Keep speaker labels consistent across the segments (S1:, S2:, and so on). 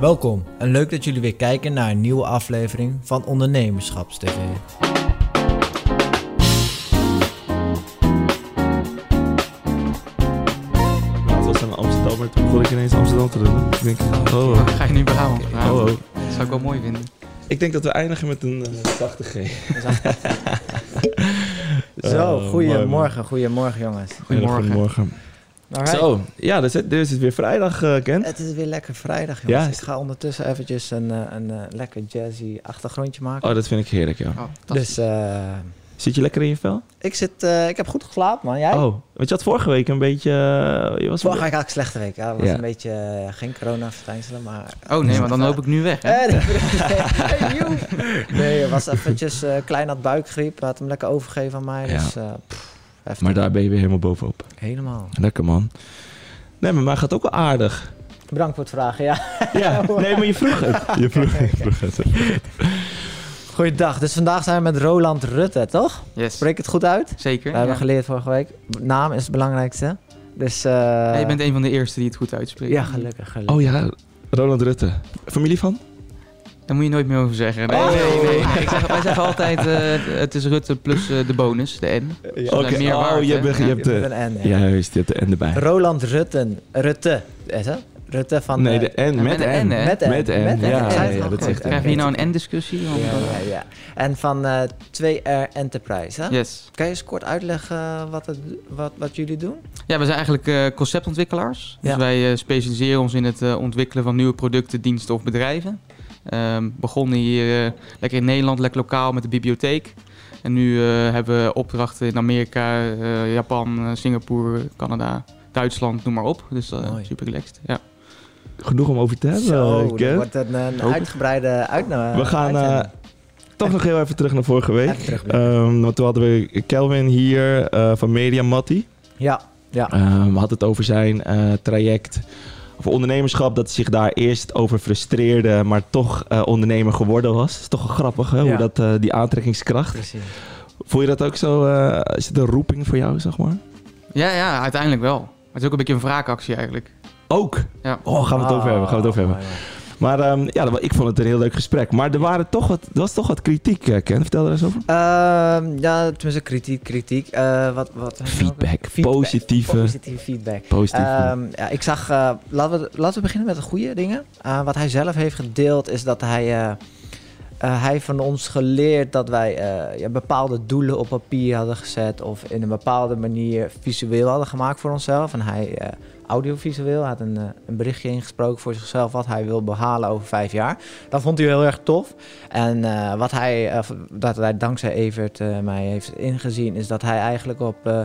S1: Welkom en leuk dat jullie weer kijken naar een nieuwe aflevering van Ondernemerschapstv.
S2: Het was aan Amsterdam, maar toen begon ik ineens Amsterdam te doen. Ik denk, oh,
S3: Oh,
S2: oh,
S3: ga je nu Brabant vragen?
S2: oh, oh.
S3: Dat zou ik wel mooi vinden.
S2: Ik denk dat we eindigen met een eh, zachte G.
S4: Zo,
S2: Eh, mooi,
S4: goedemorgen, goedemorgen jongens.
S3: Goedemorgen.
S2: Goedemorgen.
S4: Alright.
S2: Zo, ja, dus het, dus het is weer vrijdag, eh Ken.
S4: Het is weer lekker vrijdag
S2: Ja,
S4: jongens.
S2: is-
S4: Ik ga ondertussen eventjes een, eh, een eh, lekker jazzy achtergrondje maken.
S2: Oh, dat vind ik heerlijk, ja.
S3: Oh, dat
S4: dus eh,
S2: Zit je lekker in je vel?
S4: ik, zit, eh, ik heb goed geslapen man, jij?
S2: Oh, want je had vorige week een beetje... eh, je was
S4: Vorige week had ik slechte week. Ja, dat was
S2: Ja.
S4: een beetje eh, geen corona-verschijnselen, maar...
S3: Oh nee, want dan loop ik nu weg. Hè?
S4: Eh, nee, hey, joe. nee, het was eventjes eh, klein had buikgriep. Hij had hem lekker overgegeven aan mij.
S2: Ja.
S4: Dus, eh, pff, heftig.
S2: Maar daar ben je weer helemaal bovenop.
S4: Helemaal.
S2: Lekker, man. Nee, maar mij gaat ook wel aardig.
S4: Bedankt voor het vragen, ja.
S2: Ja, nee, maar je vroeg het. Je vroeg, je vroeg het.
S4: Goeiedag. Dus vandaag zijn we met Roland Rutte, toch?
S3: Yes.
S4: Spreek ik het goed uit?
S3: Zeker.
S4: We hebben
S3: ja.
S4: geleerd vorige week. Naam is het belangrijkste. Dus. eh,
S3: Ja, je bent een van de eerste die het goed uitspreekt.
S4: Ja, gelukkig. gelukkig.
S2: Oh ja, Roland Rutte. Familie van?
S3: Daar moet je nooit meer over zeggen. Nee, nee, nee. nee. Ik zeg, wij zeggen altijd, eh, het is Rutte plus eh, de bonus, de N. Dus dat
S2: Oké,
S3: is meer
S2: oh,
S3: waard,
S2: je
S3: hè?
S2: hebt- je
S3: Ja.
S2: hebt de...
S4: Met een N, ja.
S2: Juist, je hebt de N erbij.
S4: Roland Rutten. Rutte. Is het? Rutte van.
S2: nee, de N met
S3: met een
S2: N.
S3: N, hè?
S4: Met N.
S2: Met N,
S4: Met N.
S2: ja,
S4: Zij
S2: ja,
S4: het
S2: ja,
S4: al
S2: dat zegt
S4: goed.
S2: hij.
S3: Krijgen we hier nou een N-discussie?
S4: Ja, ja, ja. En van eh 2R Enterprise. Hè?
S3: Yes.
S4: Kan je eens kort uitleggen wat, het, wat, wat jullie doen?
S3: Ja, we zijn eigenlijk eh, conceptontwikkelaars. Dus
S4: Ja.
S3: wij eh, specialiseren ons in het eh, ontwikkelen van nieuwe producten, diensten of bedrijven. Ehm, begonnen hier eh, lekker in Nederland, lekker lokaal met de bibliotheek. En nu eh, hebben we opdrachten in Amerika, eh, Japan, eh, Singapore, Canada, Duitsland, noem maar op. Dus eh,
S4: Mooi.
S3: super relaxed. Ja.
S2: Genoeg om over te hebben, eh,
S4: Zo,
S2: Ken.
S4: dit wordt een, een
S2: Hoop-
S4: uitgebreide uitnodiging.
S2: We gaan eh, toch nog heel even terug naar vorige week.
S4: Even terug.
S2: Ehm, want toen hadden we Kelvin hier eh, van Media Matti.
S4: ja, ja.
S2: Ehm, had het over zijn eh, traject of ondernemerschap. Dat hij zich daar eerst over frustreerde, maar toch eh, ondernemer geworden was. is toch wel grappig, hè? Hoe
S4: Ja.
S2: dat, eh, die aantrekkingskracht.
S4: precies.
S2: Voel je dat ook zo? eh, is het een roeping voor jou, zeg maar?
S3: ja, ja, uiteindelijk wel. Maar het is ook een beetje een wraakactie eigenlijk.
S2: Ook.
S3: Ja.
S2: Oh, gaan we het over hebben. Gaan we het over hebben.
S4: Ah, mooi, mooi.
S2: Maar ehm, ja, dat wa- ik vond het een heel leuk gesprek. Maar er, waren toch wat, er was toch wat kritiek, eh, Ken. Vertel er eens over.
S4: Ehm, ja, tenminste, kritiek, kritiek. Eh, wat, wat,
S2: Feedback.
S4: Feedback.
S2: Positieve.
S4: Positieve feedback.
S2: Positieve.
S4: Ehm, ja, ik zag, eh, laten, we, laten we beginnen met de goede dingen. Eh, wat hij zelf heeft gedeeld is dat hij, eh, eh, hij heeft van ons geleerd dat wij eh, ja, bepaalde doelen op papier hadden gezet of in een bepaalde manier visueel hadden gemaakt voor onszelf. En hij eh, audiovisueel had een, eh, een berichtje ingesproken voor zichzelf wat hij wil behalen over vijf jaar. Dat vond hij heel erg tof. En eh, wat hij, eh, dat hij dankzij Evert eh, mij heeft ingezien, is dat hij eigenlijk op eh,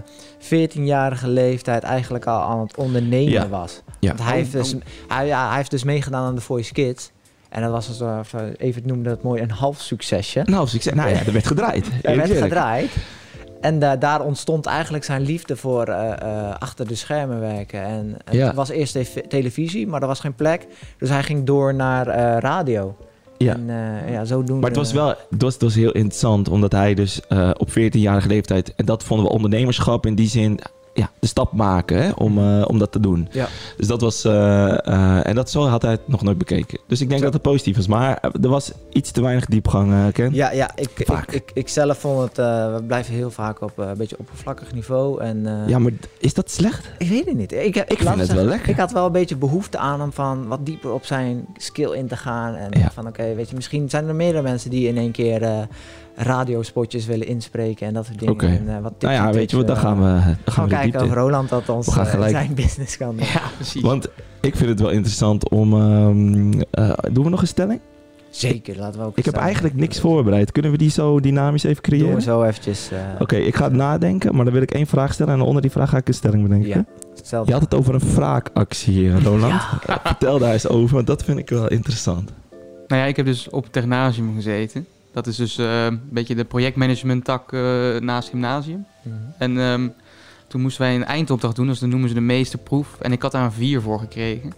S4: 14-jarige leeftijd eigenlijk al aan het ondernemen
S2: Ja.
S4: was.
S2: Ja. Oh,
S4: Want hij, heeft dus, hij, ja, hij heeft dus meegedaan aan de Voice Kids. En dat was, dus, eh, Evert noemde dat mooi, een half succesje.
S2: Nou, als ik zeg, nou ja, er werd gedraaid.
S4: Er
S2: Eerlijk
S4: werd
S2: eerlijk.
S4: gedraaid. En da- daar ontstond eigenlijk zijn liefde voor eh, eh, achter de schermen werken. En het
S2: Ja.
S4: was eerst tv- televisie, maar er was geen plek. Dus hij ging door naar eh, radio.
S2: Ja.
S4: En eh, ja, zo doen
S2: Maar het was wel het was, het was heel interessant, omdat hij dus eh, op 14-jarige leeftijd, en dat vonden we ondernemerschap in die zin, ja, de stap maken hè, om, eh, om dat te doen.
S4: Ja.
S2: Dus dat was, eh, eh, en dat zo had hij het nog nooit bekeken. Dus ik denk
S4: Zo.
S2: dat het positief was, maar eh, er was iets te weinig diepgang, eh, Ken.
S4: Ja, ja ik, ik,
S2: Vaak.
S4: ik, ik zelf vond het... eh, we blijven heel vaak op eh, een beetje oppervlakkig niveau. En, eh,
S2: Ja, maar d- is dat slecht?
S4: Ik weet het niet. Ik, ik
S2: vind het wel lekker.
S4: Ik had wel een beetje behoefte aan om van wat dieper op zijn skill in te gaan. En
S2: Ja.
S4: van oké, weet je, misschien zijn er meerdere mensen die in één keer eh, radiospotjes willen inspreken en dat soort dingen.
S2: Oké.
S4: En, eh, wat tips
S2: nou ja,
S4: en
S2: weet je wat,
S4: tricks,
S2: dan
S4: eh,
S2: gaan we, dan gaan
S4: gaan
S2: we de
S4: kijken
S2: diepte
S4: of
S2: in.
S4: Roland dat ons
S2: We gaan
S4: eh,
S2: gelijk-
S4: zijn business kan doen.
S3: Ja, precies.
S2: Want ik vind het wel interessant om... ehm, eh, doen we nog een stelling?
S4: Zeker, laten we ook.
S2: Ik heb
S4: eens, eh,
S2: eigenlijk niks voorbereid. Kunnen we die zo dynamisch even
S4: Doen we
S2: creëren?
S4: zo eventjes. eh,
S2: Oké, ik ga het nadenken, maar dan wil ik één vraag stellen en onder die vraag ga ik een stelling bedenken.
S4: Ja, stel-
S2: Je had het over een wraakactie, eh, Roland. Vertel daar eens over, want dat vind ik wel interessant.
S3: Nou ja, ik heb dus op het technasium gezeten. Dat is dus eh, een beetje de projectmanagement tak eh, naast gymnasium.
S4: Mhm.
S3: En ehm, toen moesten wij een eindopdracht doen, dus dat noemen ze de meesterproef. En ik had daar een 4 voor gekregen.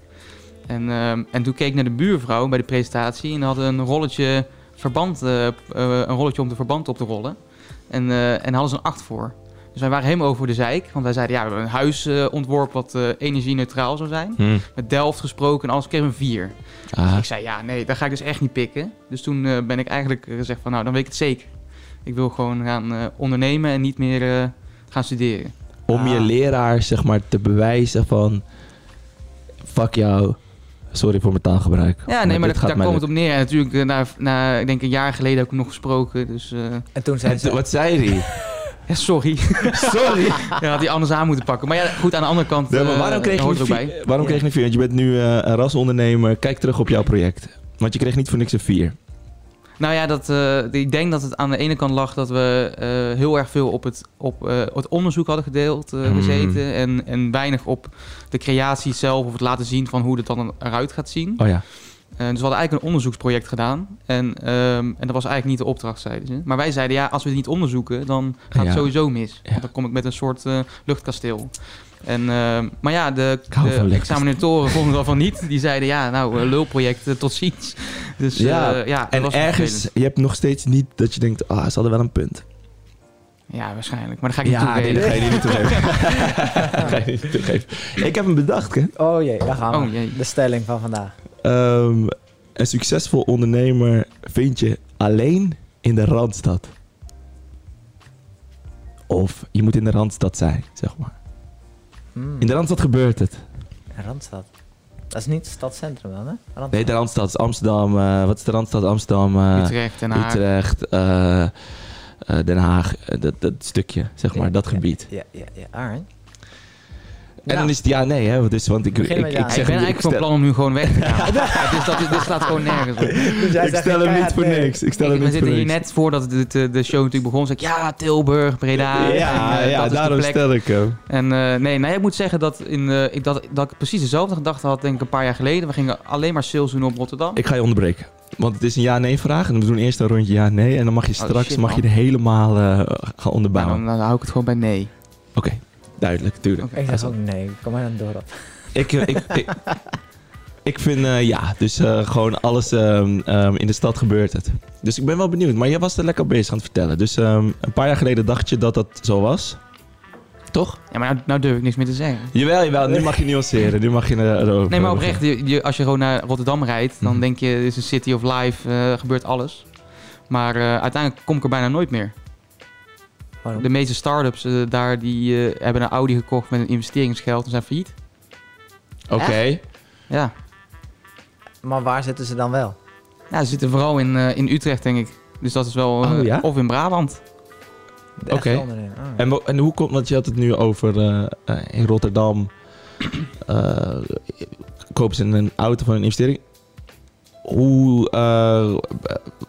S3: En, ehm, en toen keek ik naar de buurvrouw bij de presentatie en had een rolletje verband, eh, eh, een rolletje om de verband op te rollen. En, eh, en hadden ze een 8 voor. Dus wij waren helemaal over de zeik. Want wij zeiden, ja, we hebben een huis eh, ontworpen wat eh, energie-neutraal zou zijn.
S2: Hm.
S3: Met Delft gesproken en alles kreeg een 4.
S2: Ah,
S3: Ik zei, ja, nee, daar ga ik dus echt niet pikken. Dus toen eh, ben ik eigenlijk eh, gezegd van, nou, dan weet ik het zeker. Ik wil gewoon gaan eh, ondernemen en niet meer eh, gaan studeren.
S2: om je
S4: Ah.
S2: leraar zeg maar te bewijzen van fuck jou. Sorry voor mijn taalgebruik.
S3: Ja, nee,
S2: dit
S3: maar, dat-
S2: gaat
S3: daar
S2: mij dus
S3: kwam
S2: lukken.
S3: het op neer. En natuurlijk, eh, na, na, ik denk een jaar geleden heb ik hem nog gesproken. Dus eh,
S4: En toen zei
S2: En toen-
S4: ze...
S2: Wat zei hij?
S3: ja, sorry.
S2: Sorry.
S3: ja, had hij anders aan moeten pakken. Maar ja, goed, aan de andere kant
S2: Nee, maar
S3: eh,
S2: waarom kreeg je
S3: hoort
S2: een
S3: het ook bij.
S2: vier? Waarom
S4: Ja.
S2: kreeg je een vier? Want je bent nu eh, een rasondernemer. Kijk terug op jouw project. Want je kreeg niet voor niks een vier.
S3: Nou ja, dat, eh, ik denk dat het aan de ene kant lag dat we eh, heel erg veel op het, op, eh, het onderzoek hadden gedeeld, eh,
S2: Mm.
S3: gezeten. En, en weinig op de creatie zelf of het laten zien van hoe het dan eruit gaat zien.
S2: Oh ja.
S3: Eh, dus we hadden eigenlijk een onderzoeksproject gedaan. En, ehm, en dat was eigenlijk niet de opdracht, zeiden ze. Maar wij zeiden, ja, als we het niet onderzoeken, dan gaat
S2: Ja.
S3: het sowieso mis.
S2: Ja.
S3: Want dan kom ik met een soort eh, luchtkasteel. En, ehm, maar ja, de,
S2: Ik hou
S3: de
S2: van luchtkasteel.
S3: examinatoren vonden dat van niet. Die zeiden, ja, nou, eh, lulproject, eh, tot ziens. Dus
S2: Ja,
S3: ja, ja dat
S2: En
S3: was vervelend.
S2: ergens, je hebt nog steeds niet dat je denkt, ah, ze hadden wel een punt.
S3: Ja, waarschijnlijk. Maar dat ga ik
S2: nee,
S3: niet
S2: dat ga
S3: toegeven.
S2: je niet toegeven. Dat ga je niet toegeven. Ik heb hem bedacht, hè.
S4: Oh jee, daar gaan we.
S3: Oh jee.
S4: De stelling van vandaag.
S2: Ehm, een succesvol ondernemer vind je alleen in de Randstad. Of je moet in de Randstad zijn, zeg maar.
S4: Hmm.
S2: In de Randstad gebeurt het.
S4: Randstad. Dat is niet het stadscentrum dan, hè? Randstad.
S2: Nee, de Randstad is Amsterdam. eh, wat is de Randstad? Amsterdam, eh,
S3: Utrecht, Den Haag.
S2: Utrecht, eh, eh, Den Haag. eh, dat, dat stukje, zeg maar,
S4: Ja,
S2: dat
S4: ja,
S2: gebied.
S4: Ja, ja, ja. Alright. Nou.
S2: En dan is het ja, nee, hè? Dus, want ik, ik,
S4: Begin
S2: ik,
S4: met ja.
S2: zeg
S3: Ja, ik ben
S2: niet,
S3: eigenlijk van
S2: stel-
S3: plan om nu gewoon weg te gaan. Ja, dus dat, is- dit staat gewoon nergens op.
S4: Dus jij
S2: ik
S4: zegt
S2: stel hem niet
S4: keihard
S2: voor
S4: nee.
S2: niks. Ik stel
S3: Ik-
S2: hem
S3: we
S2: niet voor
S3: zitten hier
S2: niks.
S3: net voordat de, de, de show natuurlijk begon. Zeg ik, ja, Tilburg, Breda.
S2: ja,
S3: en, eh,
S2: ja,
S3: dat is de
S2: daarom
S3: plek.
S2: stel ik hem.
S3: En eh, nee, nou, ik moet zeggen dat, in, eh, ik, dat, dat ik precies dezelfde gedachte had, denk ik, een paar jaar geleden. We gingen alleen maar sales doen op Rotterdam.
S2: Ik ga je onderbreken. Want het is een ja-nee vraag. En we doen eerst een rondje ja-nee. En dan mag je
S3: Oh,
S2: straks
S3: shit,
S2: mag je
S3: man.
S2: er helemaal eh, gaan
S3: Nou,
S2: onderbouwen.
S3: dan, dan hou ik het gewoon bij nee.
S2: Oké, duidelijk, tuurlijk.
S3: Oké.
S4: Ik zeg ook nee, kom maar dan door op.
S2: Ik, eh, ik, ik, ik vind eh, ja, dus eh, gewoon alles ehm, ehm, in de stad gebeurt het. Dus ik ben wel benieuwd. Maar jij was er lekker bezig aan het vertellen. Dus ehm, een paar jaar geleden dacht je dat dat zo was. Toch?
S3: Ja, maar nou, nou durf ik niks meer te zeggen.
S2: Jawel, jawel. Nu mag je nuanceren. Nu mag je eh, erover.
S3: Nee, maar oprecht, je, je- als je gewoon naar Rotterdam rijdt, dan
S2: Mhm.
S3: denk je, dit is een city of life, eh, gebeurt alles. Maar eh, uiteindelijk kom ik er bijna nooit meer.
S4: Waarom?
S2: Oh.
S3: De meeste start-ups eh, daar die, eh, hebben een Audi gekocht met een investeringsgeld en zijn failliet.
S2: Oké.
S3: Ja,
S4: Maar waar zitten ze dan wel?
S3: ja ze zitten vooral in, eh, in Utrecht, denk ik. Dus dat is wel... eh,
S2: Oh, ja?
S3: Of in Brabant.
S4: De echte
S2: Oké.
S4: ondernemer. Ah.
S2: En, wo- en hoe komt, want je had het nu over eh, eh, in Rotterdam. eh, kopen ze een auto van een investering. Hoe, eh,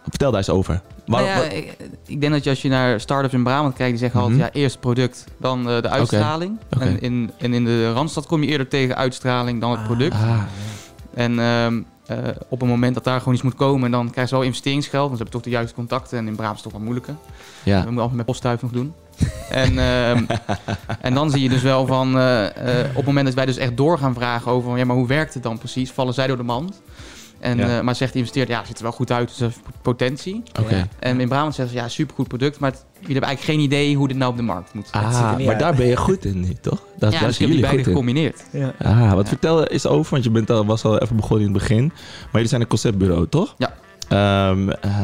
S2: vertel daar eens over. Waarom,
S3: Nou ja, ik, ik denk dat je als je naar start-ups in Brabant kijkt, die zeggen
S2: Mhm.
S3: altijd, ja, eerst product, dan eh, de uitstraling.
S2: Oké.
S3: En, in, en in de Randstad kom je eerder tegen uitstraling dan het
S4: Ah.
S3: product.
S2: wat- ah,
S3: En ehm, eh, op het moment dat daar gewoon iets moet komen, dan krijgen ze wel investeringsgeld. Want ze hebben toch de juiste contacten. En in Brabant is het toch wel moeilijker.
S2: ja.
S3: We moeten altijd met poststuif nog doen. en, ehm, en dan zie je dus wel van, eh, eh, op het moment dat wij dus echt door gaan vragen over, ja, maar hoe werkt het dan precies? Vallen zij door de mand? En,
S2: Ja.
S3: eh, maar zegt de investeerder, ja, het ziet er wel goed uit, dus dat heeft potentie.
S2: Oké.
S4: Ja.
S3: En in Brabant zeggen ze, ja, supergoed product, maar het- jullie hebben eigenlijk geen idee hoe dit nou op de markt moet.
S4: Het ziet er
S2: Ah,
S4: niet
S2: maar
S4: uit.
S2: daar ben je goed in nu, toch? Daar,
S3: ja,
S2: daar
S3: dus ik
S2: zijn
S3: heb die
S2: jullie
S3: beide
S2: goed in.
S3: gecombineerd.
S4: Ja.
S2: Ah, wat
S3: Ja.
S2: vertel eens over, want je bent al, was al even begonnen in het begin. Maar jullie zijn een conceptbureau, toch?
S3: Ja.
S2: Ehm, eh,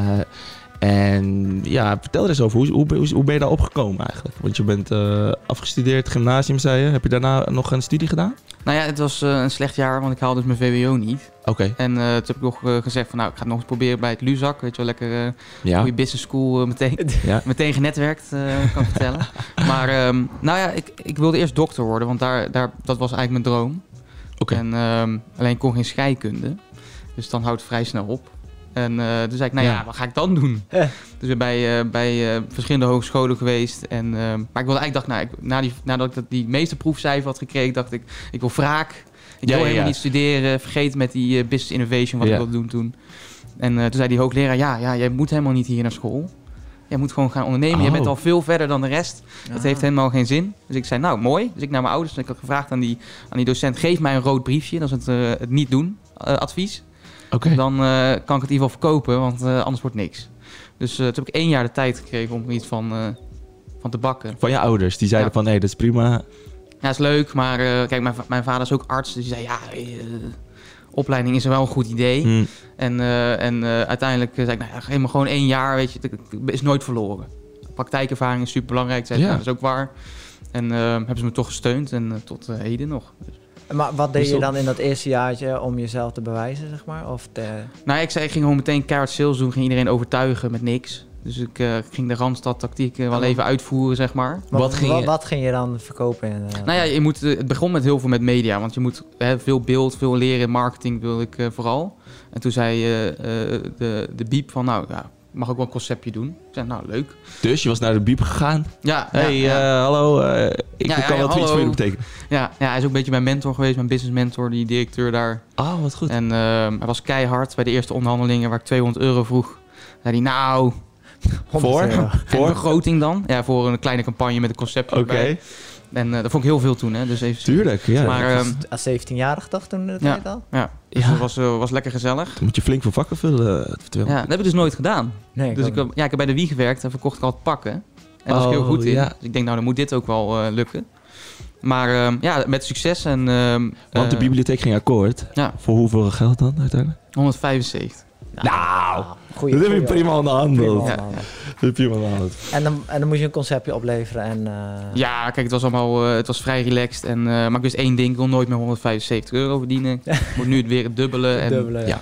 S2: en ja, vertel er eens over. Hoe, hoe, hoe, hoe ben je daar opgekomen eigenlijk? Want je bent eh, afgestudeerd, gymnasium zei je. Heb je daarna nog een studie gedaan?
S3: Nou ja, het was eh, een slecht jaar, want ik haalde dus mijn VWO niet.
S2: Oké.
S3: En eh, toen heb ik nog eh, gezegd van, nou, ik ga het nog eens proberen bij het Luzak. Weet je wel, lekker eh,
S2: Ja.
S3: goede business school eh, meteen.
S2: Ja.
S3: meteen genetwerkt, eh, kan ik vertellen. Maar ehm, nou ja, ik, ik wilde eerst dokter worden, want daar, daar, dat was eigenlijk mijn droom.
S2: Oké.
S3: En, ehm, alleen ik kon geen scheikunde, dus dan houdt het vrij snel op. En eh, toen zei ik, nou ja,
S2: Ja.
S3: wat ga ik dan doen?
S4: Eh.
S3: Dus ik ben bij, eh, bij eh, verschillende hogescholen geweest. En, ehm, maar ik wilde eigenlijk, dacht, nou, ik, na die, nadat ik dat die meeste proefcijfer had gekregen, dacht ik, ik wil wraak. Ik
S2: Ja,
S3: wil
S2: ja,
S3: helemaal
S2: ja.
S3: niet studeren. Vergeet met die eh, business innovation wat
S2: Ja.
S3: ik wilde doen toen. En eh, toen zei die hoogleraar, ja, ja, jij moet helemaal niet hier naar school. Jij moet gewoon gaan ondernemen. Je
S2: Oh.
S3: bent al veel verder dan de rest. Dat
S4: Ah.
S3: heeft helemaal geen zin. Dus ik zei, nou, mooi. Dus ik naar mijn ouders en ik had gevraagd aan die, aan die docent... geef mij een rood briefje, dat is het, eh, het niet doen eh, advies.
S2: Oké.
S3: Dan eh, kan ik het in ieder geval verkopen, want eh, anders wordt niks. Dus eh, toen heb ik één jaar de tijd gekregen om er iets van, eh, van van te bakken.
S2: Van je ouders, die zeiden
S3: Ja.
S2: van, hé, dat is prima.
S3: Ja, is leuk, maar eh, kijk, mijn, va- mijn vader is ook arts, dus die zei ja, eh, opleiding is wel een goed idee.
S2: Hm.
S3: En, eh, en eh, uiteindelijk zei ik, nou ja, geef me gewoon één jaar, weet je, het is nooit verloren. Praktijkervaring is super belangrijk, zei ik,
S2: Ja.
S3: nou, dat is ook waar. En eh, hebben ze me toch gesteund en eh, tot eh, heden nog.
S4: Maar wat deed
S2: Dus
S4: je
S2: dat-
S4: dan in dat eerste jaartje om jezelf te bewijzen, zeg maar? Of te...
S3: Nou, ik, zei, ik ging gewoon meteen keihard sales doen, ging iedereen overtuigen met niks. Dus ik eh, ging de Randstad-tactiek eh, wel even uitvoeren, zeg maar.
S4: Wat,
S2: Wat ging
S4: wa-
S2: je-
S4: wat ging je dan verkopen? In, eh,
S3: Nou ja, je moet, eh, het begon met heel veel met media. Want je moet hè, veel beeld, veel leren. Marketing wilde ik eh, vooral. En toen zei eh, eh, de, de biep van, nou ja, mag ook wel een conceptje doen. Ik zei, nou leuk.
S2: Dus je was naar de biep gegaan.
S3: Ja,
S2: Hé, hey,
S3: ja, ja.
S2: eh, hallo, eh, ik
S3: Ja,
S2: kan wel
S3: ja, ja,
S2: iets voor
S3: hallo.
S2: jullie betekenen.
S3: Ja, ja, hij is ook een beetje mijn mentor geweest, mijn business mentor, die directeur daar.
S2: Ah, wat goed.
S3: En ehm, hij was keihard bij de eerste onderhandelingen waar ik 200 euro vroeg. Zei hij, nou,
S4: 100
S2: voor?
S4: euro.
S3: voor
S2: Voor?
S3: begroting dan? Ja, voor een kleine campagne met een conceptje
S2: Oké,
S3: erbij. En eh, dat vond ik heel veel toen, hè. Dus even...
S2: tuurlijk. Ja.
S3: Maar
S4: Ik was
S3: ehm,
S4: Als 17-jarig toch toen dat
S3: Ja.
S4: tijd al?
S3: dus
S2: Ja.
S3: dat was, eh, was lekker gezellig.
S2: Dan moet je flink voor vakken vullen. eh,
S3: Ja,
S2: terwijl-
S3: dat heb ik dus nooit gedaan.
S4: Nee, ik
S3: Dus
S4: ook
S3: ik,
S4: niet.
S3: heb- ja, ik heb bij de Wii gewerkt en verkocht ik al het pakken. En daar was ik
S2: Oh,
S3: heel goed in.
S2: ja.
S3: Dus ik denk, nou, dan moet dit ook wel eh, lukken. Maar ehm, ja, met succes en... ehm,
S2: Want de
S3: eh,
S2: bibliotheek ging akkoord.
S3: ja.
S2: Voor hoeveel geld dan uiteindelijk?
S3: 175.
S2: Nou,
S4: goeie,
S2: dat heb je
S4: goeie
S2: prima aan de hand.
S4: Prima
S2: man.
S4: man.
S3: Ja, ja.
S2: Dat heb je prima aan de hand.
S4: En, dan, en dan moet je een conceptje opleveren en... eh,
S3: Ja, kijk, het was allemaal... eh, het was vrij relaxed. En, eh, maar ik wist één ding. Ik wil nooit meer 175 euro verdienen. Ik moet nu het weer het dubbele. En
S4: Dubbele, ja.
S3: ja,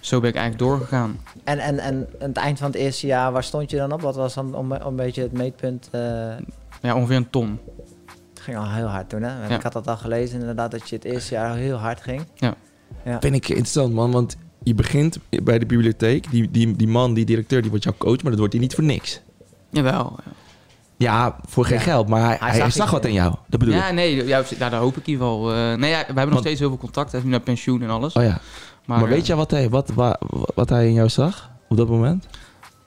S3: zo ben ik eigenlijk doorgegaan.
S4: En, en, en aan het eind van het eerste jaar, waar stond je dan op? Wat was dan om, om een beetje het meetpunt? eh,
S3: Ja, ongeveer een ton.
S4: het ging al heel hard toen, hè?
S3: Ja.
S4: Ik had dat al gelezen inderdaad, dat je het eerste jaar heel hard ging.
S2: Vind ik interessant, man. Want je begint bij de bibliotheek. Die, die, die man, die directeur, die wordt jouw coach. Maar dat wordt hij niet voor niks.
S3: Jawel. ja.
S2: Ja, voor geen
S4: Ja.
S2: geld. Maar hij, hij,
S4: zag
S2: hij
S4: iets
S2: zag
S4: in
S2: wat in jou. Dat bedoel
S3: Ja,
S2: ik.
S3: nee, ja, nou, daar hoop ik in ieder geval. eh, nee, ja, we hebben nog
S2: Want-
S3: steeds heel veel contact. Hij is nu naar pensioen en alles.
S2: Oh ja. Maar,
S3: eh,
S2: weet jij wat hij, wat, wa- wat hij in jou zag? Op dat moment?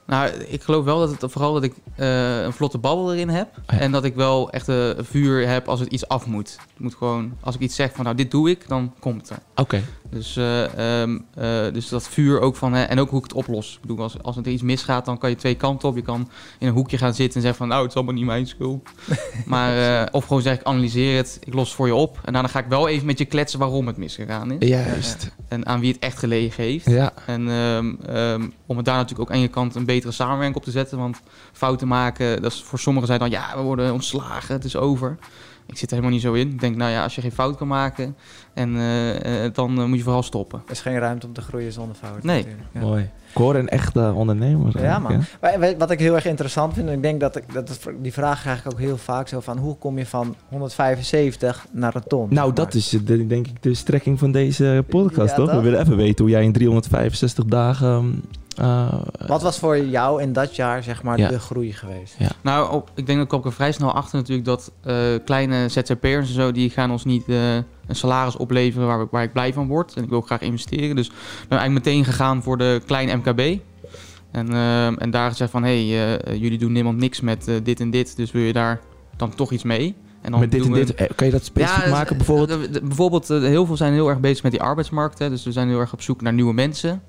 S3: Nou, ik geloof wel dat het vooral dat ik eh, een vlotte babbel erin heb.
S2: Oh, ja.
S3: En dat ik wel echt eh, vuur heb als het iets af moet. Het moet gewoon, als ik iets zeg van nou, dit doe ik, dan komt het er.
S2: Oké.
S3: Dus, eh, ehm, eh, dus dat vuur ook van, hè, en ook hoe ik het oplos. Ik bedoel, als, als er iets misgaat, dan kan je twee kanten op. Je kan in een hoekje gaan zitten en zeggen van nou, het is allemaal niet mijn schuld. maar, eh, of gewoon zeg ik analyseer het, ik los het voor je op. En daarna ga ik wel even met je kletsen waarom het misgegaan is.
S2: Juist.
S3: En aan wie het echt gelegen heeft.
S2: Ja.
S3: En ehm, ehm, om het daar natuurlijk ook aan je kant een betere samenwerking op te zetten. Want fouten maken, dat is voor sommigen zijn dan ja, we worden ontslagen, het is over. Ik zit er helemaal niet zo in. Ik denk, nou ja, als je geen fout kan maken, en, eh, eh, dan eh, moet je vooral stoppen.
S4: Er is geen ruimte om te groeien zonder fouten.
S3: Nee.
S4: natuurlijk. Ja.
S2: Mooi. Ik hoor een echte ondernemer.
S4: Ja,
S2: eigenlijk,
S4: man.
S2: hè?
S4: Maar eh, weet- Wat ik heel erg interessant vind, en ik denk dat, ik, dat het- die vraag krijg ik ook heel vaak zo van... hoe kom je van 175 naar een ton?
S2: Nou, dat is eh, de- denk ik de strekking van deze eh, podcast,
S4: Ja,
S2: toch? We
S4: toch?
S2: willen even weten hoe jij in 365 dagen... eh,
S4: Wat was voor jou in dat jaar, zeg maar,
S2: Ja.
S4: de groei geweest?
S3: Nou, op, ik denk dat kwam ik er vrij snel achter natuurlijk dat eh, kleine ZZP'ers en zo, die gaan ons niet eh, een salaris opleveren waar, we- waar ik blij van word. En ik wil ook graag investeren. Dus ik ben eigenlijk meteen gegaan voor de klein MKB. En, ehm, en daar gezegd van, hé, hey, eh, jullie doen niemand niks met eh, dit en dit, dus wil je daar dan toch iets mee? En dan
S2: met dit en
S3: doen we-
S2: dit. Eh, Kan je dat specifiek
S3: Ja, dus,
S2: maken,
S3: eh,
S2: bijvoorbeeld?
S3: de- de- bijvoorbeeld, eh, heel veel zijn heel erg bezig met die arbeidsmarkt. Hè, dus we zijn heel erg op zoek naar nieuwe mensen.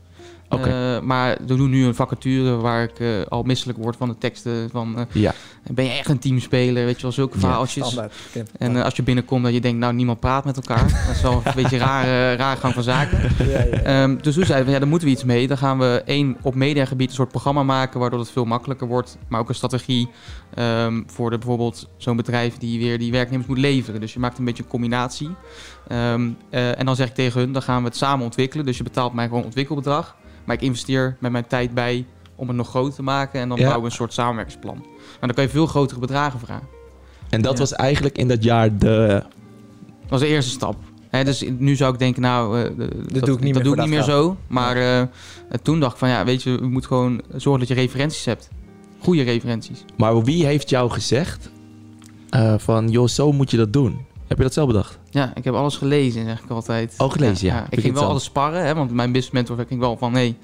S2: Oké.
S3: Eh, maar we doen nu een vacature waar ik eh, al misselijk word van de teksten. Van, eh,
S2: Ja.
S3: Ben je echt een teamspeler? Weet je wel, zulke
S2: Ja,
S3: verhaaltjes.
S4: Standaard.
S3: en eh, als je binnenkomt dat je denkt, nou, niemand praat met elkaar. dat is wel een beetje een rare, rare gang van zaken.
S4: Ja, ja.
S3: Ehm, dus toen zeiden we, ja, daar moeten we iets mee. Dan gaan we één op mediagebied een soort programma maken, waardoor het veel makkelijker wordt. Maar ook een strategie ehm, voor de, bijvoorbeeld zo'n bedrijf die weer die werknemers moet leveren. Dus je maakt een beetje een combinatie. Ehm, eh, en dan zeg ik tegen hun, dan gaan we het samen ontwikkelen. Dus je betaalt mij gewoon ontwikkelbedrag. Maar ik investeer met mijn tijd bij om het nog groter te maken. En dan
S2: Ja.
S3: bouwen we een soort samenwerkingsplan. Maar dan kan je veel grotere bedragen vragen.
S2: En dat
S3: Ja.
S2: was eigenlijk in dat jaar de...
S3: Dat was de eerste stap. Hè, dus nu zou ik denken, nou, eh, dat,
S4: doe ik niet meer voor dat geld.
S3: zo. Maar eh, eh, toen dacht ik van, ja, weet je, we moeten gewoon zorgen dat je referenties hebt. Goede referenties.
S2: Maar wie heeft jou gezegd eh, van, joh, zo moet je dat doen? Heb je dat zelf bedacht?
S3: Ja, ik heb alles gelezen, zeg ik altijd.
S2: Oh, gelezen, ja.
S3: Ik ging
S2: Begint
S3: wel
S2: zo.
S3: altijd sparren, hè, want mijn business mentor ging wel van, nee.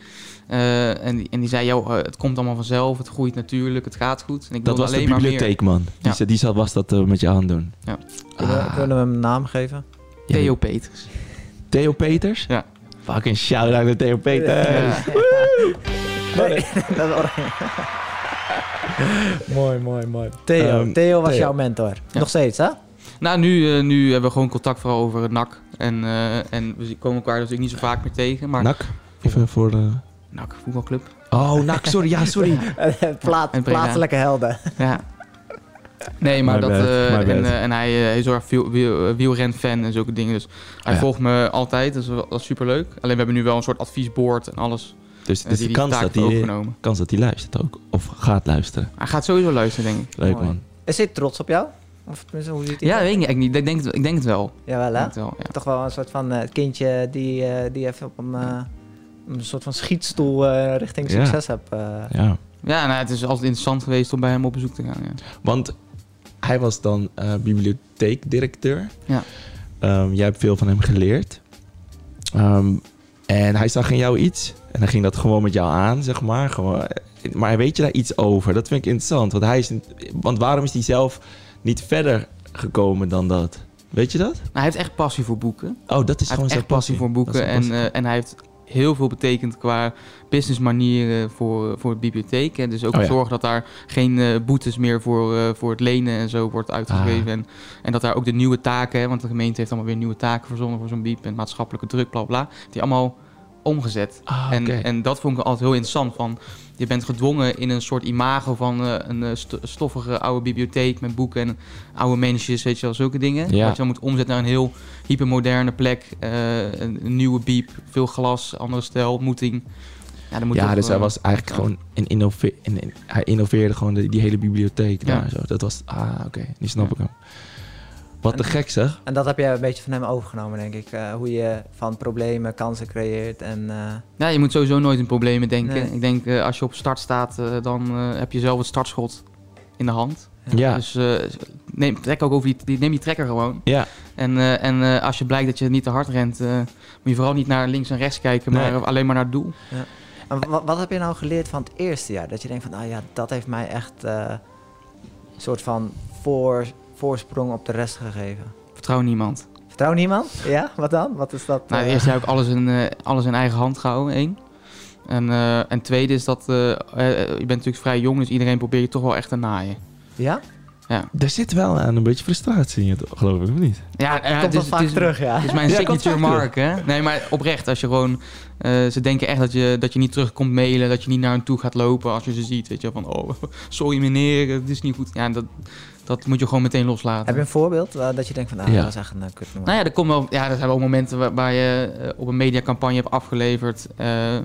S3: Eh, en, die, en die zei, joh, eh, het komt allemaal vanzelf, het groeit natuurlijk, het gaat goed. En ik
S2: Dat
S3: wilde
S2: was de
S3: alleen maar meer.
S2: bibliotheek, man. Die,
S3: Ja.
S2: zat- die zat, was dat eh, met je hand doen.
S3: Ja.
S4: Kunnen, we-
S2: Ah.
S4: kunnen we hem een naam geven?
S2: Ja,
S3: Theo Peters.
S2: Theo Peters?
S3: Ja.
S2: Fucking shout-out naar Theo Peters.
S3: Ja.
S4: Nee, dat is oranje. mooi, mooi, mooi. Theo,
S2: Ehm,
S4: Theo was
S2: Theo.
S4: jouw mentor. Nog steeds, hè?
S3: Nou, nu, eh, nu hebben we gewoon contact vooral over het NAC. En, eh, en we komen elkaar natuurlijk niet zo vaak meer tegen. Maar NAC,
S2: Nak? Even voor eh, de...
S3: voetbalclub.
S2: Oh, Nak, sorry. Ja, sorry.
S4: Plaat,
S3: En Breda.
S4: plaatselijke helden.
S3: Ja. Nee, maar
S2: My
S3: dat...
S2: bad,
S3: eh,
S2: my
S3: en,
S2: bad.
S3: eh, en hij, eh, hij is heel erg wiel, wiel- eh, wielrenfan en zulke dingen. Dus hij
S2: Ja.
S3: volgt me altijd. Dus dat is superleuk. Alleen we hebben nu wel een soort adviesboord en alles. eh,
S2: Dus het
S3: die
S2: is de
S3: die
S2: kans
S3: taak
S2: dat
S3: heeft
S2: hij,
S3: overgenomen.
S2: kans dat hij luistert ook. Of gaat luisteren.
S3: Hij gaat sowieso luisteren, denk ik.
S2: Leuk,
S4: Mooi.
S2: man.
S4: Is hij trots op jou? Of tenminste, hoe ziet hij
S3: Ja,
S4: dat?
S3: weet ik eigenlijk niet. Ik denk, het- ik denk het wel.
S4: Jawel,
S3: Ik
S4: hè?
S3: denk het wel, ja.
S4: Toch wel een soort van eh, kindje die, eh, die even op een, eh, een soort van schietstoel eh, richting
S2: Ja.
S4: succes hebt. eh.
S2: Ja.
S3: Ja, nou, het is altijd interessant geweest om bij hem op bezoek te gaan. Ja. Nou,
S2: Want hij was dan eh, bibliotheekdirecteur.
S3: Ja.
S2: Ehm, jij hebt veel van hem geleerd. Ehm, en hij zag in jou iets. En hij ging dat gewoon met jou aan, zeg maar. Gewoon, eh, maar weet je daar iets over? Dat vind ik interessant. Want, hij is, een- want waarom is hij zelf niet verder gekomen dan dat? Weet je dat?
S3: Nou, hij heeft echt passie voor boeken.
S2: Oh, dat is
S3: hij
S2: gewoon
S3: heeft
S2: zijn
S3: echt passie voor boeken.
S2: Dat is
S3: En,
S2: zijn passie.
S3: eh, en hij heeft heel veel betekend qua businessmanieren voor, voor de bibliotheek. En dus ook
S2: Oh ja.
S3: zorgen dat daar geen eh, boetes meer voor, eh, voor het lenen en zo wordt uitgegeven.
S2: Ah.
S3: En, en dat daar ook de nieuwe taken, hè, want de gemeente heeft allemaal weer nieuwe taken verzonnen voor zo'n biep en maatschappelijke druk, bla bla. Die allemaal omgezet.
S2: Ah,
S3: En,
S2: oké.
S3: en dat vond ik altijd heel interessant. Van, je bent gedwongen in een soort imago van eh, een eh, st- stoffige oude bibliotheek met boeken en oude mensjes, weet je wel, zulke dingen.
S2: Ja.
S3: Dat je dan moet omzetten naar een heel hypermoderne plek. eh, een, een nieuwe biep, veel glas, andere stijl, ontmoeting. Ja, dan moet
S2: ja,
S3: toch,
S2: dus hij
S3: eh,
S2: was eigenlijk
S3: ja.
S2: gewoon een innove- en- en hij innoveerde gewoon de- die hele bibliotheek
S3: Ja.
S2: daar. Zo. Dat was, ah, oké, nu snap
S3: Ja.
S2: ik hem. Wat te gek zeg.
S4: En dat heb jij een beetje van hem overgenomen, denk ik. eh, hoe je van problemen kansen creëert. En, eh,
S3: Ja, je moet sowieso nooit in problemen denken.
S4: Nee.
S3: Ik denk, eh, als je op start staat, eh, dan eh, heb je zelf het startschot in de hand.
S2: Ja,
S3: Dus eh, neem, trek ook over die- die, neem die trekker gewoon.
S2: ja.
S3: En, eh, en eh, als je blijkt dat je niet te hard rent, eh, moet je vooral niet naar links en rechts kijken, maar
S2: Nee.
S3: alleen maar naar het doel.
S4: en wa- wat heb je nou geleerd van het eerste jaar? Dat je denkt van, ah ja, dat heeft mij echt eh, een soort van voor, voorsprong op de rest gegeven.
S3: Vertrouw niemand.
S4: Vertrouw niemand? Ja, wat dan? Wat is dat?
S3: Nou,
S4: eh,
S3: het eerste heb ik alles in, eh, alles in eigen hand gehouden, één. En, eh, en tweede is dat, eh, eh, je bent natuurlijk vrij jong, dus iedereen probeert je toch wel echt te naaien.
S4: Ja?
S2: Er zit wel aan een beetje frustratie in, toch? geloof ik, of niet?
S3: Ja, eh,
S4: Komt dat vaak
S3: het is,
S4: terug, ja.
S3: het is mijn
S2: Ja, komt
S3: signature
S2: vaak
S3: mark, hè. Nee, maar oprecht, als je gewoon... eh, ze denken echt dat je, dat je niet terug komt mailen, dat je niet naar hen toe gaat lopen als je ze ziet. Weet je, wel, van, oh, sorry meneer, het is niet goed. Ja, dat, dat moet je gewoon meteen loslaten.
S4: Heb je een voorbeeld eh, dat je denkt van, ah,
S2: Ja.
S4: dat was echt een eh, kut
S3: Nou ja, er, komt wel, ja, er zijn wel momenten waar, waar je eh, op een mediacampagne hebt afgeleverd. eh, eh,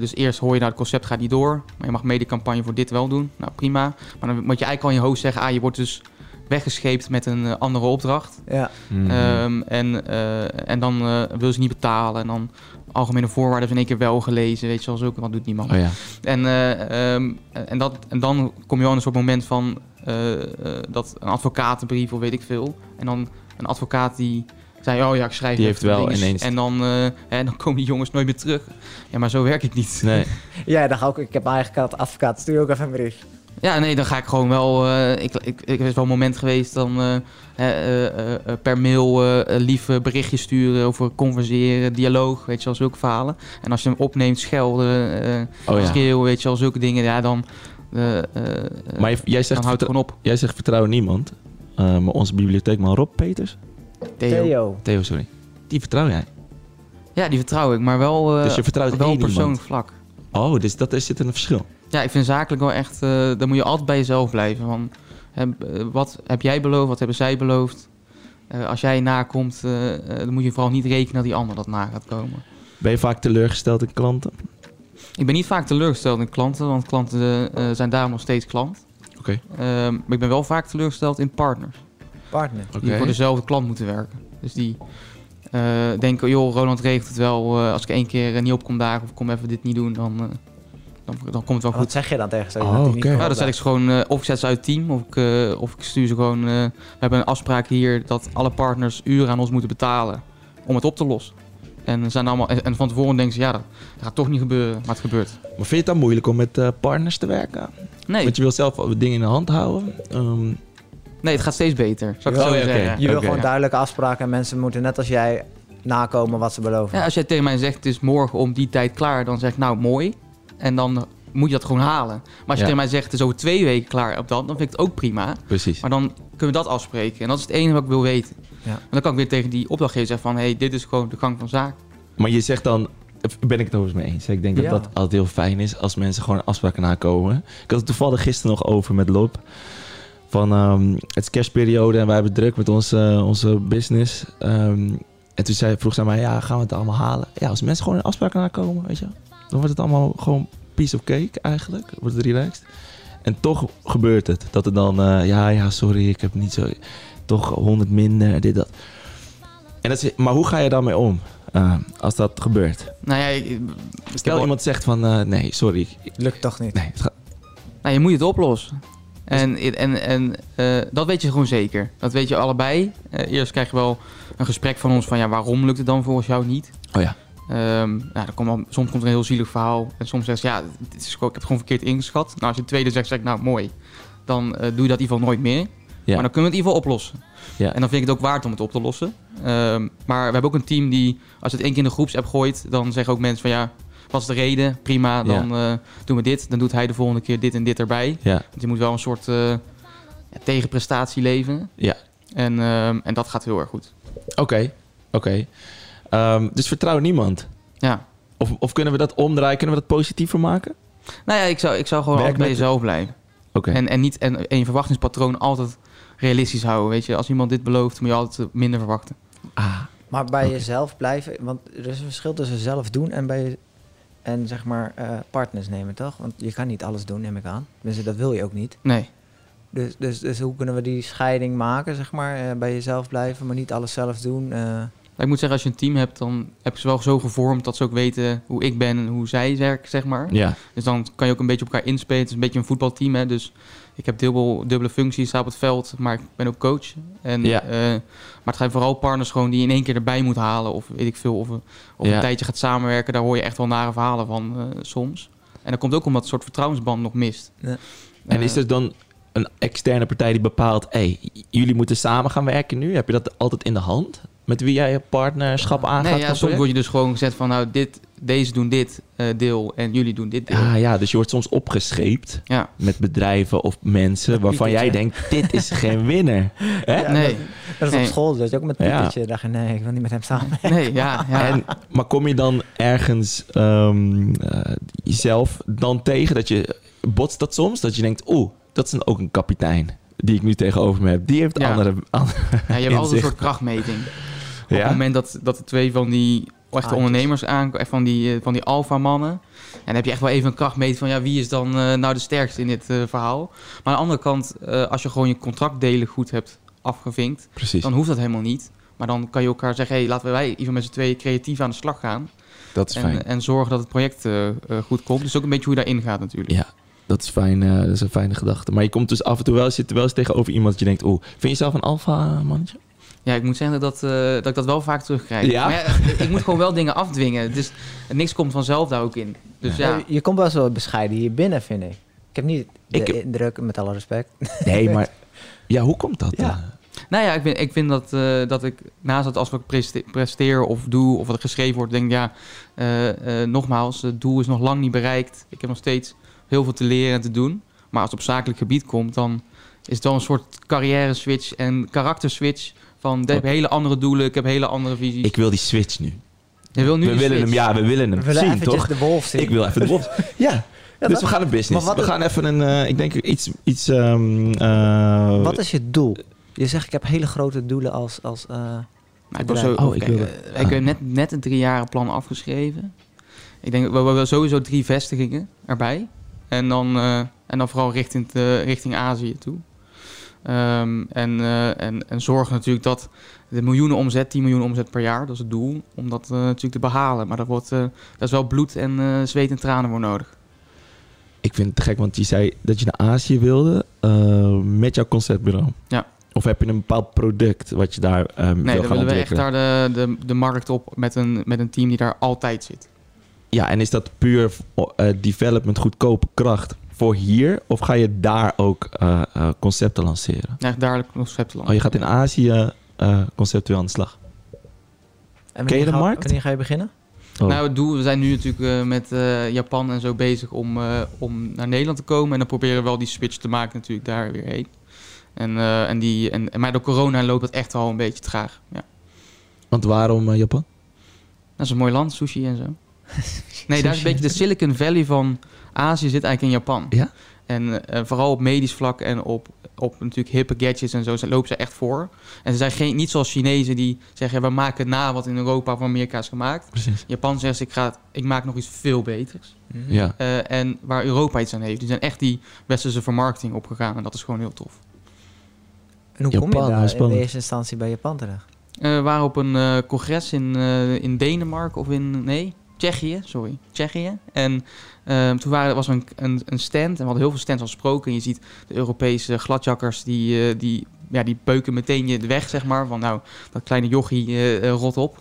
S3: dus eerst hoor je nou, het concept gaat niet door. Maar je mag mediacampagne voor dit wel doen. Nou, prima. Maar dan moet je eigenlijk al in je hoofd zeggen... Ah, je wordt dus weggescheept met een eh, andere opdracht.
S4: Ja,
S2: Mhm. Oh
S3: Ehm, en, eh, en dan eh wil ze niet betalen. En dan algemene voorwaarden zijn in één keer wel gelezen. Weet je wel, zulke, wat doet niemand.
S2: oh ja.
S3: En, eh, ehm, en, dat, en dan kom je wel in een soort moment van eh, eh, dat een advocatenbrief of weet ik veel. En dan een advocaat die zei, oh ja, ik schrijf
S2: Die
S3: even
S2: heeft wel
S3: links.
S2: ineens-
S3: En dan, eh, hè, dan komen die jongens nooit meer terug. Ja, maar zo werk ik niet.
S2: Nee.
S4: ja dan ga ik, ik heb mijn eigen kat, advocaat, stuur ook even een brief.
S3: Ja, nee, dan ga ik gewoon wel... eh, ik, ik, ik- er is wel een moment geweest dan eh, hè, eh, eh, eh, per mail eh, eh, lieve berichtjes sturen over converseren, dialoog, weet je wel, zulke verhalen. En als je hem opneemt, schelden, eh
S2: Oh ja.
S3: schreeuwen, weet je wel, zulke dingen. Ja, dan... eh, eh, eh,
S2: Maar je- jij
S3: dan
S2: zegt,
S3: houdt het
S2: vertrouw,
S3: gewoon op.
S2: jij zegt vertrouw niemand. Eh, maar onze bibliotheekman Rob Peters.
S3: Theo.
S4: Theo.
S2: Theo, sorry. Die vertrouw jij.
S3: Ja, die vertrouw ik, maar wel, eh
S2: dus je vertrouwt
S3: wel
S2: één
S3: op persoonlijk
S2: iemand.
S3: vlak.
S2: Oh, dus dat is, zit in een verschil.
S3: Ja, ik vind zakelijk wel echt, eh dan moet je altijd bij jezelf blijven. Van, hè, eh, wat heb jij beloofd, wat hebben zij beloofd? Eh, als jij nakomt, eh, eh, dan moet je vooral niet rekenen dat die ander dat na gaat komen.
S2: Ben je vaak teleurgesteld in klanten?
S3: Ik ben niet vaak teleurgesteld in klanten, want klanten eh, eh, zijn daarom nog steeds klant.
S2: Oké.
S3: Ehm, maar ik ben wel vaak teleurgesteld in partners.
S4: Partner.
S3: die voor dezelfde klant moeten werken. Dus die eh, denken, joh, Roland regelt het wel. eh, als ik één keer eh, niet op kom dagen of kom even dit niet doen, dan, eh, dan, dan komt het wel goed.
S4: Wat zeg je dan tegen ze?
S2: Oh,
S4: Dat die
S2: oké.
S4: niet
S2: Ja,
S3: Ja,
S4: gehoord
S3: dan zet ik ze gewoon, eh, of ik zet ze uit het team, of ik, eh, of ik stuur ze gewoon... eh, we hebben een afspraak hier dat alle partners uren aan ons moeten betalen om het op te lossen. En, ze zijn allemaal, en en van tevoren denken ze, ja, dat gaat toch niet gebeuren, maar het gebeurt.
S2: Maar vind je het dan moeilijk om met eh, partners te werken?
S3: Nee,
S2: Want je wil zelf wel dingen in de hand houden. Ehm,
S3: nee het gaat steeds beter, zou ik
S2: Oh,
S3: zo
S2: ja, oké.
S3: zeggen.
S4: Je wil
S2: Oké.
S4: gewoon
S3: Ja.
S4: duidelijke afspraken en mensen moeten net als jij nakomen wat ze beloven.
S3: Ja, als jij tegen mij zegt, het is morgen om die tijd klaar, dan zeg ik, nou, mooi. En dan moet je dat gewoon halen. Maar als je
S2: Ja.
S3: tegen mij zegt, het is over twee weken klaar op dat, dan vind ik het ook prima.
S2: Precies.
S3: Maar dan kunnen we dat afspreken. En dat is het enige wat ik wil weten.
S1: Ja.
S3: En dan kan ik weer tegen die opdrachtgever zeggen van... hé, hey, dit is gewoon de gang van zaken.
S2: Maar je zegt dan, ben ik het overigens mee eens. Ik denk
S4: Ja.
S2: dat dat altijd heel fijn is als mensen gewoon afspraken nakomen. Ik had het toevallig gisteren nog over met Lop. Van ehm, het is kerstperiode en wij hebben het druk met onze, onze business. Ehm, en toen zei, vroeg ze aan mij, ja, gaan we het allemaal halen? Ja, als mensen gewoon een afspraak nakomen, weet je wel, Dan wordt het allemaal gewoon piece of cake eigenlijk. Wordt het relaxed. En toch gebeurt het. Dat het dan, eh, ja, ja, sorry, ik heb niet zo... Toch 100 minder, dit, dat. En dat is, maar hoe ga je daarmee om eh, als dat gebeurt?
S3: Nou ja, ik- ik heb
S2: Stel
S3: al-
S2: iemand zegt van eh, nee, sorry.
S1: Lukt toch niet.
S2: Nee, het gaat-
S3: nou, je moet het oplossen. En, en, en eh, dat weet je gewoon zeker. Dat weet je allebei. Eh, eerst krijg je wel een gesprek van ons van... ja, waarom lukt het dan volgens jou niet?
S2: Oh ja.
S3: Ehm, nou, dan komt al- soms komt er een heel zielig verhaal. En soms zegt ze, ja, dit is gewoon, ik heb het gewoon verkeerd ingeschat. Nou, als je het tweede zegt, zeg ik, nou, mooi. Dan eh, doe je dat in ieder geval nooit meer.
S2: Ja.
S3: Maar dan kunnen we het in ieder geval oplossen.
S2: Ja.
S3: En dan vind ik het ook waard om het op te lossen. Ehm, maar we hebben ook een team die, als het één keer in de groepsapp gooit... dan zeggen ook mensen van, ja, wat is de reden? Prima, dan eh, doen we dit. Dan doet hij de volgende keer dit en dit erbij.
S2: Ja,
S3: Want je moet wel een soort eh, ja, tegenprestatie leveren.
S2: Ja.
S3: En, ehm, en dat gaat heel erg goed.
S2: oké. Oké. Ehm, dus vertrouw niemand.
S3: Ja.
S2: Of, of kunnen we dat omdraaien? Kunnen we dat positiever maken?
S3: Nou ja, ik zou, ik zou gewoon
S2: Werk
S3: altijd bij
S2: met-
S3: jezelf blijven.
S2: Oké.
S3: En, en, niet, en, en je verwachtingspatroon altijd realistisch houden. Weet je, als iemand dit belooft, moet je altijd eh, minder verwachten.
S2: Ah,
S4: Maar bij
S2: Oké.
S4: jezelf blijven, want er is een verschil tussen zelf doen en bij je- en zeg maar eh, partners nemen, toch? Want je kan niet alles doen, neem ik aan. Dus dat wil je ook niet.
S3: Nee.
S4: Dus, dus, dus hoe kunnen we die scheiding maken, zeg maar? eh, bij jezelf blijven, maar niet alles zelf doen. eh.
S3: Maar Ik moet zeggen, als je een team hebt, dan heb ik ze wel zo gevormd dat ze ook weten hoe ik ben en hoe zij werken, zeg maar.
S2: ja.
S3: Dus dan kan je ook een beetje op elkaar inspelen. Het is een beetje een voetbalteam, hè. Dus ik heb dubbel, dubbele functies, sta op het veld, maar ik ben ook coach. En,
S2: Ja.
S3: eh, maar het zijn vooral partners gewoon die je in één keer erbij moet halen. Of weet ik veel, of, een- of
S2: Ja.
S3: een tijdje gaat samenwerken. Daar hoor je echt wel nare verhalen van eh, soms. En dat komt ook omdat het soort vertrouwensband nog mist.
S4: Ja.
S2: En
S3: Eh,
S2: is er dan een externe partij die bepaalt, hé, hey, jullie moeten samen gaan werken nu? Heb je dat altijd in de hand? Met wie jij je partnerschap aangaat?
S3: Nee,
S2: van
S3: ja, soms
S2: project?
S3: word je dus gewoon gezegd van, nou, dit, deze doen dit eh, deel en jullie doen dit deel.
S2: Ah ja, dus je wordt soms opgescheept
S3: Ja.
S2: met bedrijven of mensen waarvan jij
S4: pietertje.
S2: denkt, dit is geen winnaar. Hè?
S4: Ja,
S3: nee,
S4: Dat is
S3: Nee.
S4: op school, dus ook met
S2: Ja.
S4: Pietertje. dacht je, nee, ik wil niet met hem samen.
S3: nee, ja, ja.
S2: En, maar kom je dan ergens ehm, eh, jezelf dan tegen dat je botst dat soms? Dat je denkt, oeh, dat is een- ook een kapitein die ik nu tegenover me heb. Die heeft
S3: Ja.
S2: andere... andere
S3: Ja, je hebt altijd een
S2: inzicht.
S3: soort krachtmeting. Op het
S2: ja?
S3: moment dat, dat de twee van die echte
S4: Haantjes.
S3: ondernemers aankomen, echt van die, eh, van die alfa-mannen. En dan heb je echt wel even een krachtmeting van, ja, wie is dan eh, nou de sterkste in dit eh, verhaal? Maar aan de andere kant, eh, als je gewoon je contractdelen goed hebt afgevinkt,
S2: Precies.
S3: dan hoeft dat helemaal niet. Maar dan kan je elkaar zeggen, hé, hey, laten wij even met z'n tweeën creatief aan de slag gaan.
S2: dat is fijn.
S3: En, eh, en zorgen dat het project eh, eh, goed komt. Dus ook een beetje hoe je daarin gaat natuurlijk.
S2: Ja. Dat is, fijn, eh, dat is een fijne gedachte. Maar je komt dus af en toe wel, zit wel eens tegenover iemand dat je denkt... oeh, vind je jezelf een alfa-mannetje?
S3: Ja, ik moet zeggen dat, eh, dat ik dat wel vaak terugkrijg.
S2: Ja?
S3: Maar ja, ik moet gewoon wel dingen afdwingen. Dus niks komt vanzelf daar ook in. Dus ja,
S4: Eh, Je komt best wel bescheiden hier binnen, vind ik. Ik heb niet de
S2: Ik-
S4: indruk, met alle respect.
S2: Nee, maar... Ja, hoe komt dat?
S4: Ja.
S2: dan?
S3: nou ja, ik, ben, ik vind dat, eh, dat ik naast dat als ik preste- presteer of doe of wat er geschreven wordt, denk ik ja, eh, eh, nogmaals, het doel is nog lang niet bereikt. Ik heb nog steeds heel veel te leren en te doen. Maar als het op zakelijk gebied komt, dan is het wel een soort carrière switch en karakter switch. Van ik heb hele andere doelen, ik heb hele andere visies.
S2: Ik wil die switch nu.
S3: Je wil nu
S2: we
S3: die
S2: willen hem,
S3: switch.
S2: ja, we willen hem
S4: We willen
S2: zien,
S4: eventjes
S2: toch?
S4: de wolf zien.
S2: Ik wil even de box. ja,
S4: Ja,
S2: dus
S4: dat-
S2: we gaan een business.
S4: Maar
S2: We
S4: wat-
S2: gaan even een, eh, ik denk iets, iets ehm, eh,
S4: Wat is je doel? Je zegt, ik heb hele grote doelen als... als eh,
S3: Maar Nou, ik was zo,
S4: Bedrijf.
S2: Oh, ik
S3: kijk,
S2: wilde-
S3: eh, ik heb net, net een driejarenplan afgeschreven. Ik denk, we we hebben sowieso drie vestigingen erbij. En dan, eh, en dan vooral richting, de- richting Azië toe. Ehm, en, eh, en, en zorgen natuurlijk dat de miljoenen omzet, 10 miljoen omzet per jaar, dat is het doel, om dat eh, natuurlijk te behalen. Maar dat wordt, eh, daar is wel bloed en eh, zweet en tranen voor nodig.
S2: Ik vind het te gek, want je zei dat je naar Azië wilde eh, met jouw conceptbureau.
S3: Ja.
S2: Of heb je een bepaald product wat je daar ehm, wil
S3: Nee, dan
S2: gaan
S3: willen we echt
S2: ontwikkelen?
S3: daar de, de, de markt op met een, met een team die daar altijd zit.
S2: Ja, en is dat puur eh, development goedkope kracht voor hier? Of ga je daar ook eh, eh, concepten lanceren?
S3: Echt duidelijk conceptland.
S2: Oh, je gaat in Azië eh, conceptueel aan de slag.
S4: en
S2: Ken je de
S4: wanneer ga-
S2: markt?
S4: Wanneer ga je beginnen?
S2: Oh.
S3: Nou, het doel, we zijn nu natuurlijk eh, met eh, Japan en zo bezig om, eh, om naar Nederland te komen. En dan proberen we wel die switch te maken natuurlijk daar weer heen. En, eh, en die, en, en- maar door corona loopt dat echt al een beetje traag. Ja.
S2: Want waarom eh, Japan?
S3: Dat is een mooi land, sushi en zo. Nee, daar is een beetje de Silicon Valley van Azië zit eigenlijk in Japan.
S2: Ja?
S3: En eh, vooral op medisch vlak en op, op natuurlijk hippe gadgets en zo ze, lopen ze echt voor. En ze zijn geen, niet zoals Chinezen die zeggen, ja, we maken na wat in Europa of Amerika is gemaakt.
S2: Precies.
S3: Japan zegt, ik, ga, het- ik maak nog iets veel beters.
S2: Ja.
S3: Eh, en waar Europa iets aan heeft. Die zijn echt die westerse vermarkting opgegaan en dat is gewoon heel tof.
S4: En hoe
S2: Japan,
S4: kom je
S2: heel
S4: daar in
S2: spannend.
S4: de eerste instantie bij Japan terecht?
S3: Eh, we waren op een eh, congres in, eh, in Denemarken of in. Nee, Tsjechië, sorry. Tsjechië. En ehm, toen waren, was er een, een, een stand en we hadden heel veel stands al gesproken. En je ziet de Europese gladjakkers die. eh, die ja, die beuken meteen je de weg, zeg maar. Van nou, dat kleine jochie eh, eh, rot op.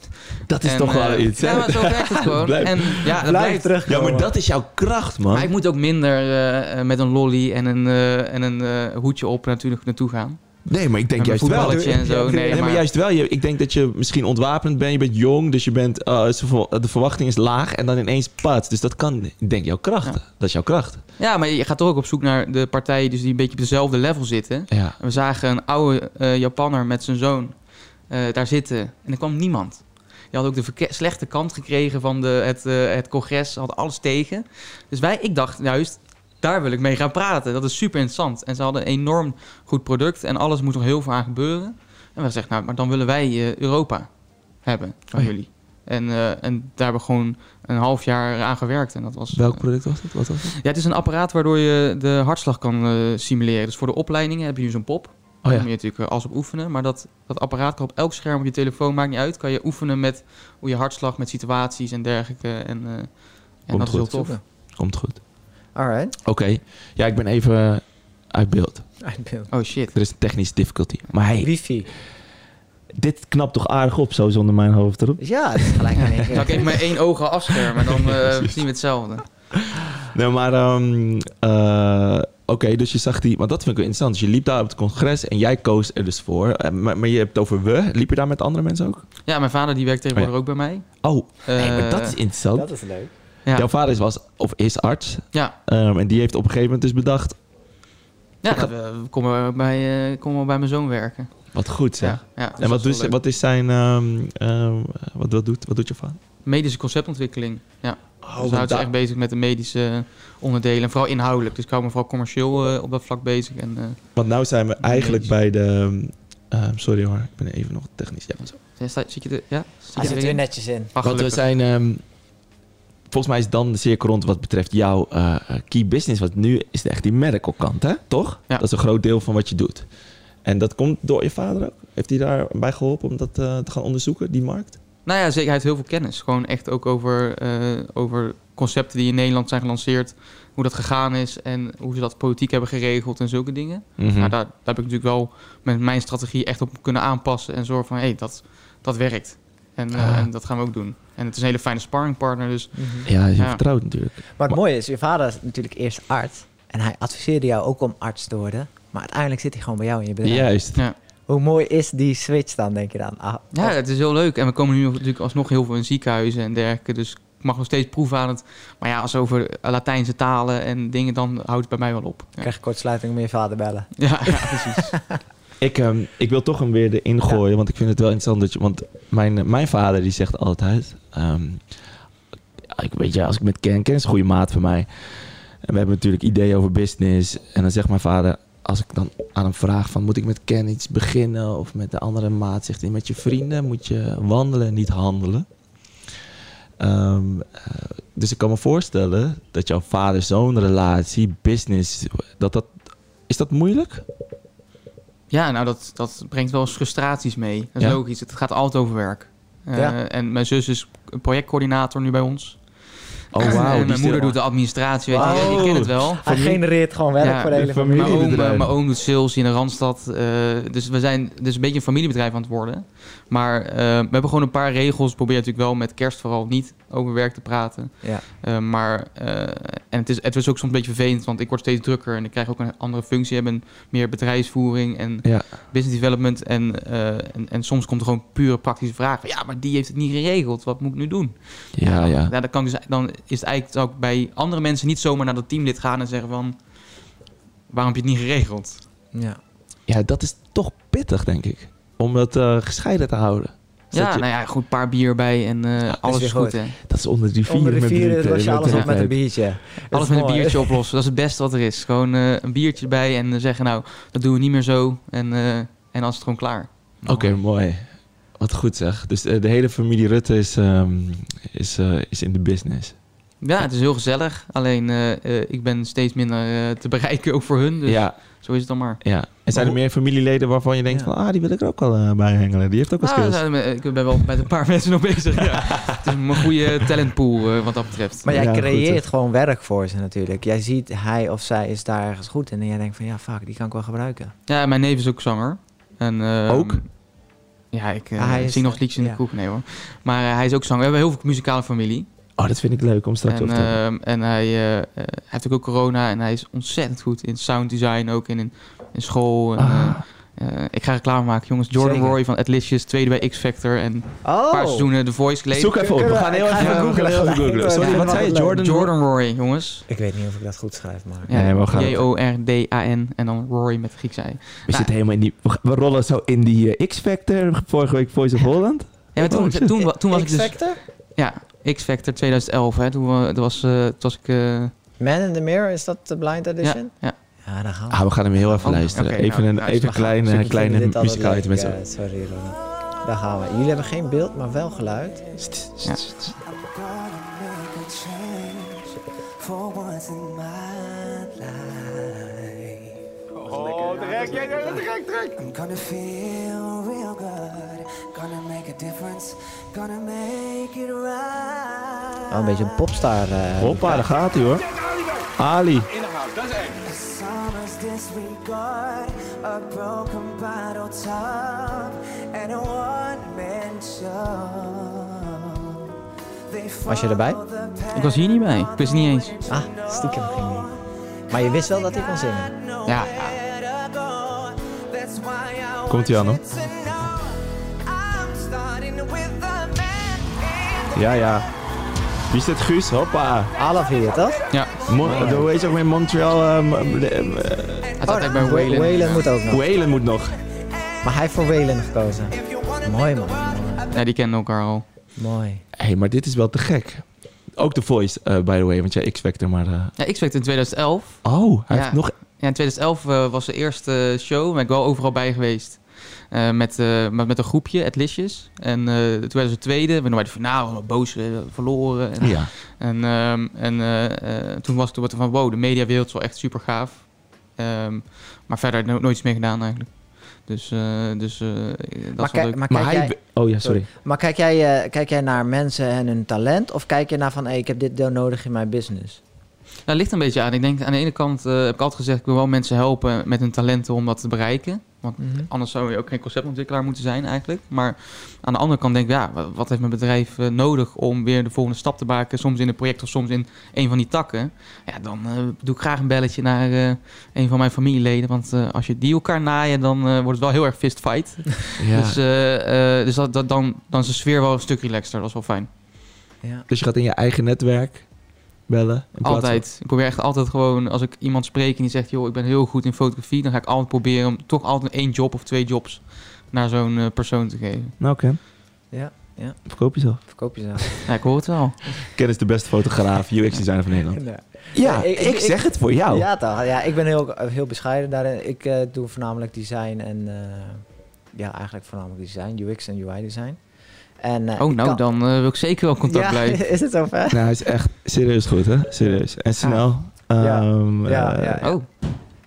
S2: Dat is
S3: En,
S2: toch wel
S3: eh,
S2: iets, hè?
S3: Ja, maar zo werkt het gewoon.
S2: Blijf-
S3: en, ja, dat blijft.
S2: Ja,
S4: terugkomen.
S2: maar dat is jouw kracht, man.
S3: Maar ik moet ook minder eh, eh, met een lolly en een, eh, en een eh, hoedje op natuurlijk naartoe gaan.
S2: Nee, maar ik denk
S3: Met mijn
S2: juist wel.
S3: voetballetje en zo. Nee,
S2: Nee, maar
S3: maar-
S2: juist wel. Je, ik denk dat je misschien ontwapend bent. Je bent jong, dus je bent, eh, zo van- de verwachting is laag. En dan ineens pat. Dus dat kan, ik denk jouw kracht. Dat is jouw kracht.
S3: Ja, maar je gaat toch ook op zoek naar de partijen dus die een beetje op dezelfde level zitten.
S2: Ja.
S3: En We zagen een oude eh, Japanner met zijn zoon eh, daar zitten en er kwam niemand. Die had ook de verke- slechte kant gekregen van de, het, eh, het congres, had alles tegen. Dus wij, ik dacht juist, daar wil ik mee gaan praten. Dat is super interessant. En ze hadden een enorm goed product en alles moet nog heel veel aan gebeuren. En we zeggen, nou, maar dan willen wij eh, Europa hebben van
S2: Oh ja.
S3: jullie. En, eh, en daar hebben we gewoon een half jaar aan gewerkt. En dat was, eh,
S2: Welk product was dat? Wat was dat?
S3: ja, het is een apparaat waardoor je de hartslag kan eh, simuleren. Dus voor de opleidingen heb je zo'n pop.
S2: Oh
S3: Daar
S2: ja.
S3: moet je natuurlijk eh, alles op oefenen. Maar dat, dat apparaat kan op elk scherm op je telefoon, maakt niet uit. Kan je oefenen met hoe je hartslag, met situaties en dergelijke. En, eh, en
S2: Komt
S3: dat is heel
S2: goed.
S3: tof.
S2: Komt goed.
S4: Alright.
S2: Oké. Ja, ik ben even uit beeld.
S4: Ik ben-
S3: Oh shit.
S2: Er is een technische difficulty. Maar hey,
S4: Wifi.
S2: dit knapt toch aardig op zo zonder mijn hoofd erop?
S4: Dus Ja, dat is gelijk in
S3: Zal
S4: één keer.
S3: ik even mijn één oog al afschermen en dan eh, zien we hetzelfde.
S2: Nee, maar ehm, eh, oké, dus je zag die... Want dat vind ik wel interessant. Dus je liep daar op het congres en jij koos er dus voor. Eh, Maar, maar je hebt het over we. Liep je daar met andere mensen ook?
S3: Ja, mijn vader die werkt tegenwoordig ook bij mij.
S2: Oh, nee,
S3: Eh,
S2: maar dat is interessant.
S4: Dat is leuk.
S3: ja.
S2: Jouw vader is, was, of is arts.
S3: Ja.
S2: Ehm, en die heeft op een gegeven moment dus bedacht...
S3: Ja, dat, eh, kom, maar bij, eh, kom maar bij mijn zoon werken.
S2: Wat goed zeg.
S3: Ja, ja, dus
S2: en
S3: dat
S2: wat,
S3: is wel
S2: dus,
S3: leuk.
S2: wat is zijn... ehm, ehm, wat, wat, doet, wat doet je vader?
S3: Medische conceptontwikkeling. Ja.
S2: Oh,
S3: Dus ze houdt zich echt bezig met de medische onderdelen. En vooral inhoudelijk. Dus ik hou me vooral commercieel eh, op dat vlak bezig. En, eh,
S2: Want nou zijn we eigenlijk
S3: Medisch.
S2: bij de... ehm, sorry hoor, ik ben even nog technisch. Ja, zo.
S3: ja, sta- zit je er, ja? Zit
S4: Hij
S3: je
S4: zit
S3: erin?
S4: weer netjes in.
S3: Ah,
S2: Want we
S3: gelukkig.
S2: zijn... ehm, volgens mij is dan de cirkel rond wat betreft jouw eh, key business. Want nu is het echt die medical kant, hè? Toch?
S3: Ja.
S2: Dat is een groot deel van wat je doet. En dat komt door je vader ook? Heeft hij daarbij geholpen om dat eh, te gaan onderzoeken, die markt?
S3: Nou ja, zeker. Hij heeft heel veel kennis. Gewoon echt ook over, eh, over concepten die in Nederland zijn gelanceerd. Hoe dat gegaan is en hoe ze dat politiek hebben geregeld en zulke dingen.
S2: Mhm.
S3: Nou, daar, daar heb ik natuurlijk wel met mijn strategie echt op kunnen aanpassen. En zorgen van, hé, dat, dat werkt. En, eh,
S2: Ah.
S3: en dat gaan we ook doen. En het is een hele fijne sparringpartner. Dus
S4: Mhm.
S2: Ja, je
S3: Ja.
S2: vertrouwt natuurlijk.
S4: Maar
S2: Maar-
S4: het mooie is, je vader is natuurlijk eerst arts. En hij adviseerde jou ook om arts te worden. Maar uiteindelijk zit hij gewoon bij jou in je bedrijf.
S2: Juist.
S4: Hoe mooi is die switch dan, denk je dan? Ah,
S3: Ja, het is heel leuk. En we komen nu natuurlijk alsnog heel veel in ziekenhuizen en dergelijke. Dus ik mag nog steeds proeven aan het. Maar ja, als het over eh, Latijnse talen en dingen, dan houdt het bij mij wel op.
S4: Ik
S3: Ja,
S4: krijg kortsluiting om je vader bellen.
S3: ja, ja, precies.
S2: Ik, ehm, ik wil toch hem weer erin gooien, want ik vind het wel interessant. Dat je, want mijn, eh, mijn vader die zegt altijd... ehm, ik weet je, als ik met Ken... Ken is een goede maat voor mij. En we hebben natuurlijk ideeën over business. En dan zegt mijn vader... Als ik dan aan hem vraag van... Moet ik met Ken iets beginnen? Of met de andere maat? Zegt hij, met je vrienden moet je wandelen, niet handelen. Ehm, eh, dus ik kan me voorstellen dat jouw vader-zoon relatie, business... Dat dat, is dat moeilijk?
S3: ja nou, dat, dat brengt wel eens frustraties mee. Dat is
S2: Ja.
S3: logisch. Het gaat altijd over werk. Eh,
S4: Ja.
S3: En mijn zus is projectcoördinator nu bij ons.
S2: Oh,
S3: En, eh,
S2: wauw. die
S3: mijn
S2: stil-
S3: moeder doet de administratie, weet je.
S4: Wauw.
S3: Ik ken het wel.
S4: Hij
S2: Familie-
S4: genereert gewoon werk
S3: Ja,
S4: voor de hele
S2: de
S4: familie.
S3: Mijn oom,
S2: Familiebedrijf.
S3: eh, mijn oom doet sales in de Randstad. eh, dus we zijn dus een beetje een familiebedrijf aan het worden. Maar eh, we hebben gewoon een paar regels. We proberen natuurlijk wel met kerst vooral niet over werk te praten.
S4: Ja.
S3: Eh, maar, eh, en het is, het is ook soms een beetje vervelend, want ik word steeds drukker. En ik krijg ook een andere functie. Ik ben meer bedrijfsvoering en
S2: Ja.
S3: business development. En, eh, en, en soms komt er gewoon pure praktische vraag. van, Ja, maar die heeft het niet geregeld. Wat moet ik nu doen?
S2: Ja, ja.
S3: Ja, dan, kan ik dus, dan is het eigenlijk ook bij andere mensen niet zomaar naar dat teamlid gaan en zeggen van... Waarom heb je het niet geregeld?
S4: Ja.
S2: Ja, dat is toch pittig, denk ik. Om dat eh, gescheiden te houden. Dus
S3: ja,
S2: dat, je-
S3: nou ja, goed paar bier bij en eh, alles
S4: weer
S3: is goed.
S4: goed.
S3: Hè.
S2: dat is onder die vier.
S4: Onder de vieren los je alles op met
S2: bier.
S4: een biertje. Dat
S3: Alles
S4: is
S3: met een
S4: mooi.
S3: biertje oplossen, dat is het beste wat er is. Gewoon eh, een biertje bij en eh, zeggen nou, dat doen we niet meer zo. En, eh, en dan is het gewoon klaar.
S2: Oké, mooi. Wat goed zeg. Dus eh, de hele familie Rutte is, ehm, is, eh, is in de business.
S3: Ja, het is heel gezellig. Alleen eh, eh, ik ben steeds minder eh, te bereiken ook voor hun. Dus
S2: ja,
S3: zo is het dan maar.
S2: ja. En zijn er
S4: hoe-
S2: meer familieleden waarvan je denkt
S4: Ja.
S2: van... Ah, die wil ik er ook wel eh, bij hengelen. Die heeft ook wel
S3: Nou,
S2: skills.
S3: nou, ik ben wel met een paar mensen nog bezig. Ja. Het is een goede talentpool eh, wat dat betreft.
S4: Maar jij
S2: Ja, goed,
S4: creëert
S2: hè.
S4: gewoon werk voor ze natuurlijk. Jij ziet hij of zij is daar ergens goed in. En jij denkt van ja, fuck, die kan ik wel gebruiken.
S3: Ja, mijn neef is ook zanger. En, ehm,
S2: Ook?
S3: Ja, ik eh,
S4: Ah, hij is-
S3: zing nog liedjes in
S4: ja.
S3: de kroeg. Nee hoor. Maar eh, hij is ook zanger. We hebben heel veel muzikale familie.
S2: Oh, dat vind ik leuk om straks
S3: en
S2: op te hebben.
S3: ehm, en hij, eh, eh, hij heeft ook corona en hij is ontzettend goed in sound design ook. En in, in school. En,
S2: Ah,
S3: eh, eh, ik ga reclame maken, jongens. Jordan
S4: Zeker.
S3: Roy van Atlicious, tweede bij X-Factor. En een
S4: Oh!
S3: paar seizoenen The Voice geleden.
S2: zoek even op. We gaan heel
S4: Ik ga
S2: even,
S4: even
S2: we gaan
S4: googlen.
S2: even googlen. Sorry,
S3: Ja,
S2: wat zei je?
S4: wat leuk.
S2: Jordan?
S3: Jordan Roy, jongens.
S4: Ik weet niet of ik dat goed schrijf, maar...
S3: Ja,
S2: Nee, we gaan het-
S3: J-O-R-D-A-N en dan Roy met Grieks ei.
S2: We zitten helemaal in die... We we rollen zo in die eh, X-Factor. Vorige week Voice of Holland.
S3: Ja, maar toen,
S2: Oh, shit.
S3: toen, wa- toen was ik dus...
S4: X-Factor?
S3: Ja, X-Factor 2011, hè. Toen, wa- dat was, eh, toen was ik... eh,
S4: Man in the Mirror, is dat de blind edition?
S3: ja.
S4: Ja, daar gaan we.
S2: Ah, we gaan hem heel even
S3: Oh,
S2: luisteren.
S3: oké,
S2: even
S3: nou,
S2: een,
S3: nou,
S2: even
S3: we gaan-
S2: kleine,
S3: we
S2: een
S3: vinden
S2: kleine
S4: dit altijd
S2: musicality met
S4: leuk,
S2: z'n
S4: eh, Sorry, Ronald. Daar gaan we. Jullie hebben geen beeld, maar wel geluid.
S3: Ja.
S5: Gonna make a change for once in my life. I'm gonna feel real good. Gonna make a difference. Gonna make it right.
S4: Oh, een beetje een popstar. eh.
S2: Hoppa, daar gaat hij hoor. Ali.
S5: A summer's disregard, a broken bottle top, and a one-man show. They
S4: Was je erbij?
S5: follow the path
S3: Ik was hier niet bij. Ik wist niet eens.
S4: Ah, stiekem ging niet. Maar je wist wel dat hij kon zingen.
S3: Ja.
S2: Komt ie aan, hoor. Ja, ja. Wie is dit, Guus? Hoppa.
S4: Alaf hier, toch?
S3: Ja.
S2: Mon de- Hoe heet ze ook weer? Montreal. ehm, ehm, de- ehm, eh,
S3: Hij zat echt bij Whalen.
S4: Oh, moet ook nog.
S2: Whalen moet nog.
S4: Maar hij heeft voor Whalen gekozen. Mooi man.
S3: Ja, die kennen elkaar al.
S4: Mooi.
S2: Hé, hey, maar dit is wel te gek. Ook de Voice, eh, by the way, want jij X-Factor, maar... eh,
S3: Ja, X-Factor in 2011.
S2: Oh, hij
S3: Ja.
S2: heeft nog...
S3: Ja, in 2011 eh, was de eerste show. Daar ben ik wel overal bij geweest. Eh, met, eh, met, met een groepje, Atlisjes. En eh toen werden ze tweede. We waren van, nou, boos, eh, verloren. En,
S2: Ja.
S3: En, ehm, en eh, eh, toen was het wat van, wow, de mediawereld is wel echt super gaaf. Ehm, maar verder no- nooit iets meer gedaan eigenlijk. Dus, eh, dus eh, dat
S4: Maar,
S3: is wel
S4: kijk,
S3: leuk.
S4: maar,
S2: Maar
S4: kijk,
S2: hij...
S4: jij,
S2: Oh ja, sorry.
S4: maar kijk, jij, eh, kijk jij naar mensen en hun talent? Of kijk je naar van, hey, ik heb dit deel nodig in mijn business?
S3: Dat Nou, ligt een beetje aan. Ik denk aan de ene kant eh, heb ik altijd gezegd, ik wil wel mensen helpen met hun talenten om dat te bereiken. Want anders zou je ook geen conceptontwikkelaar moeten zijn eigenlijk. Maar aan de andere kant denk ik, ja, wa- wat heeft mijn bedrijf eh, nodig om weer de volgende stap te maken? Soms in een project of soms in een van die takken. Ja, dan eh, doe ik graag een belletje naar eh, een van mijn familieleden. Want eh, als je die elkaar naaien, dan eh, wordt het wel heel erg fistfight.
S2: Ja.
S3: Dus,
S2: Dus,
S3: eh, eh, dus dat, dat, dan, dan is de sfeer wel een stuk relaxter. Dat is wel fijn.
S4: Ja.
S2: dus je gaat in je eigen netwerk bellen? in plaats van-
S3: Altijd. Ik probeer echt altijd gewoon, als ik iemand spreek en die zegt, joh, ik ben heel goed in fotografie, dan ga ik altijd proberen om toch altijd één job of twee jobs naar zo'n eh, persoon te geven.
S2: Nou, Ken.
S4: Ja, ja.
S2: Verkoop jezelf.
S4: Verkoop jezelf.
S3: Ja, ik hoor het wel.
S2: Ken is de beste fotograaf, UX-designer van Nederland.
S4: Nee.
S2: Ja,
S4: Nee,
S2: ik,
S4: ik- ik-
S2: zeg het voor jou.
S4: Ja, toch? Ja, ik ben heel, heel bescheiden daarin. Ik eh, doe voornamelijk design en... eh, ja, eigenlijk voornamelijk design. UX en UI design. En, eh,
S3: Oh,
S4: ik
S3: nou,
S4: kan-
S3: dan eh, wil ik zeker wel contact
S4: Ja,
S3: blijven.
S4: is het zo ver?
S2: Nou, hij is echt serieus goed, hè? Serieus. En snel.
S4: Ah. Ja.
S2: Ehm,
S4: Ja,
S2: eh,
S4: ja, ja.
S3: Oh,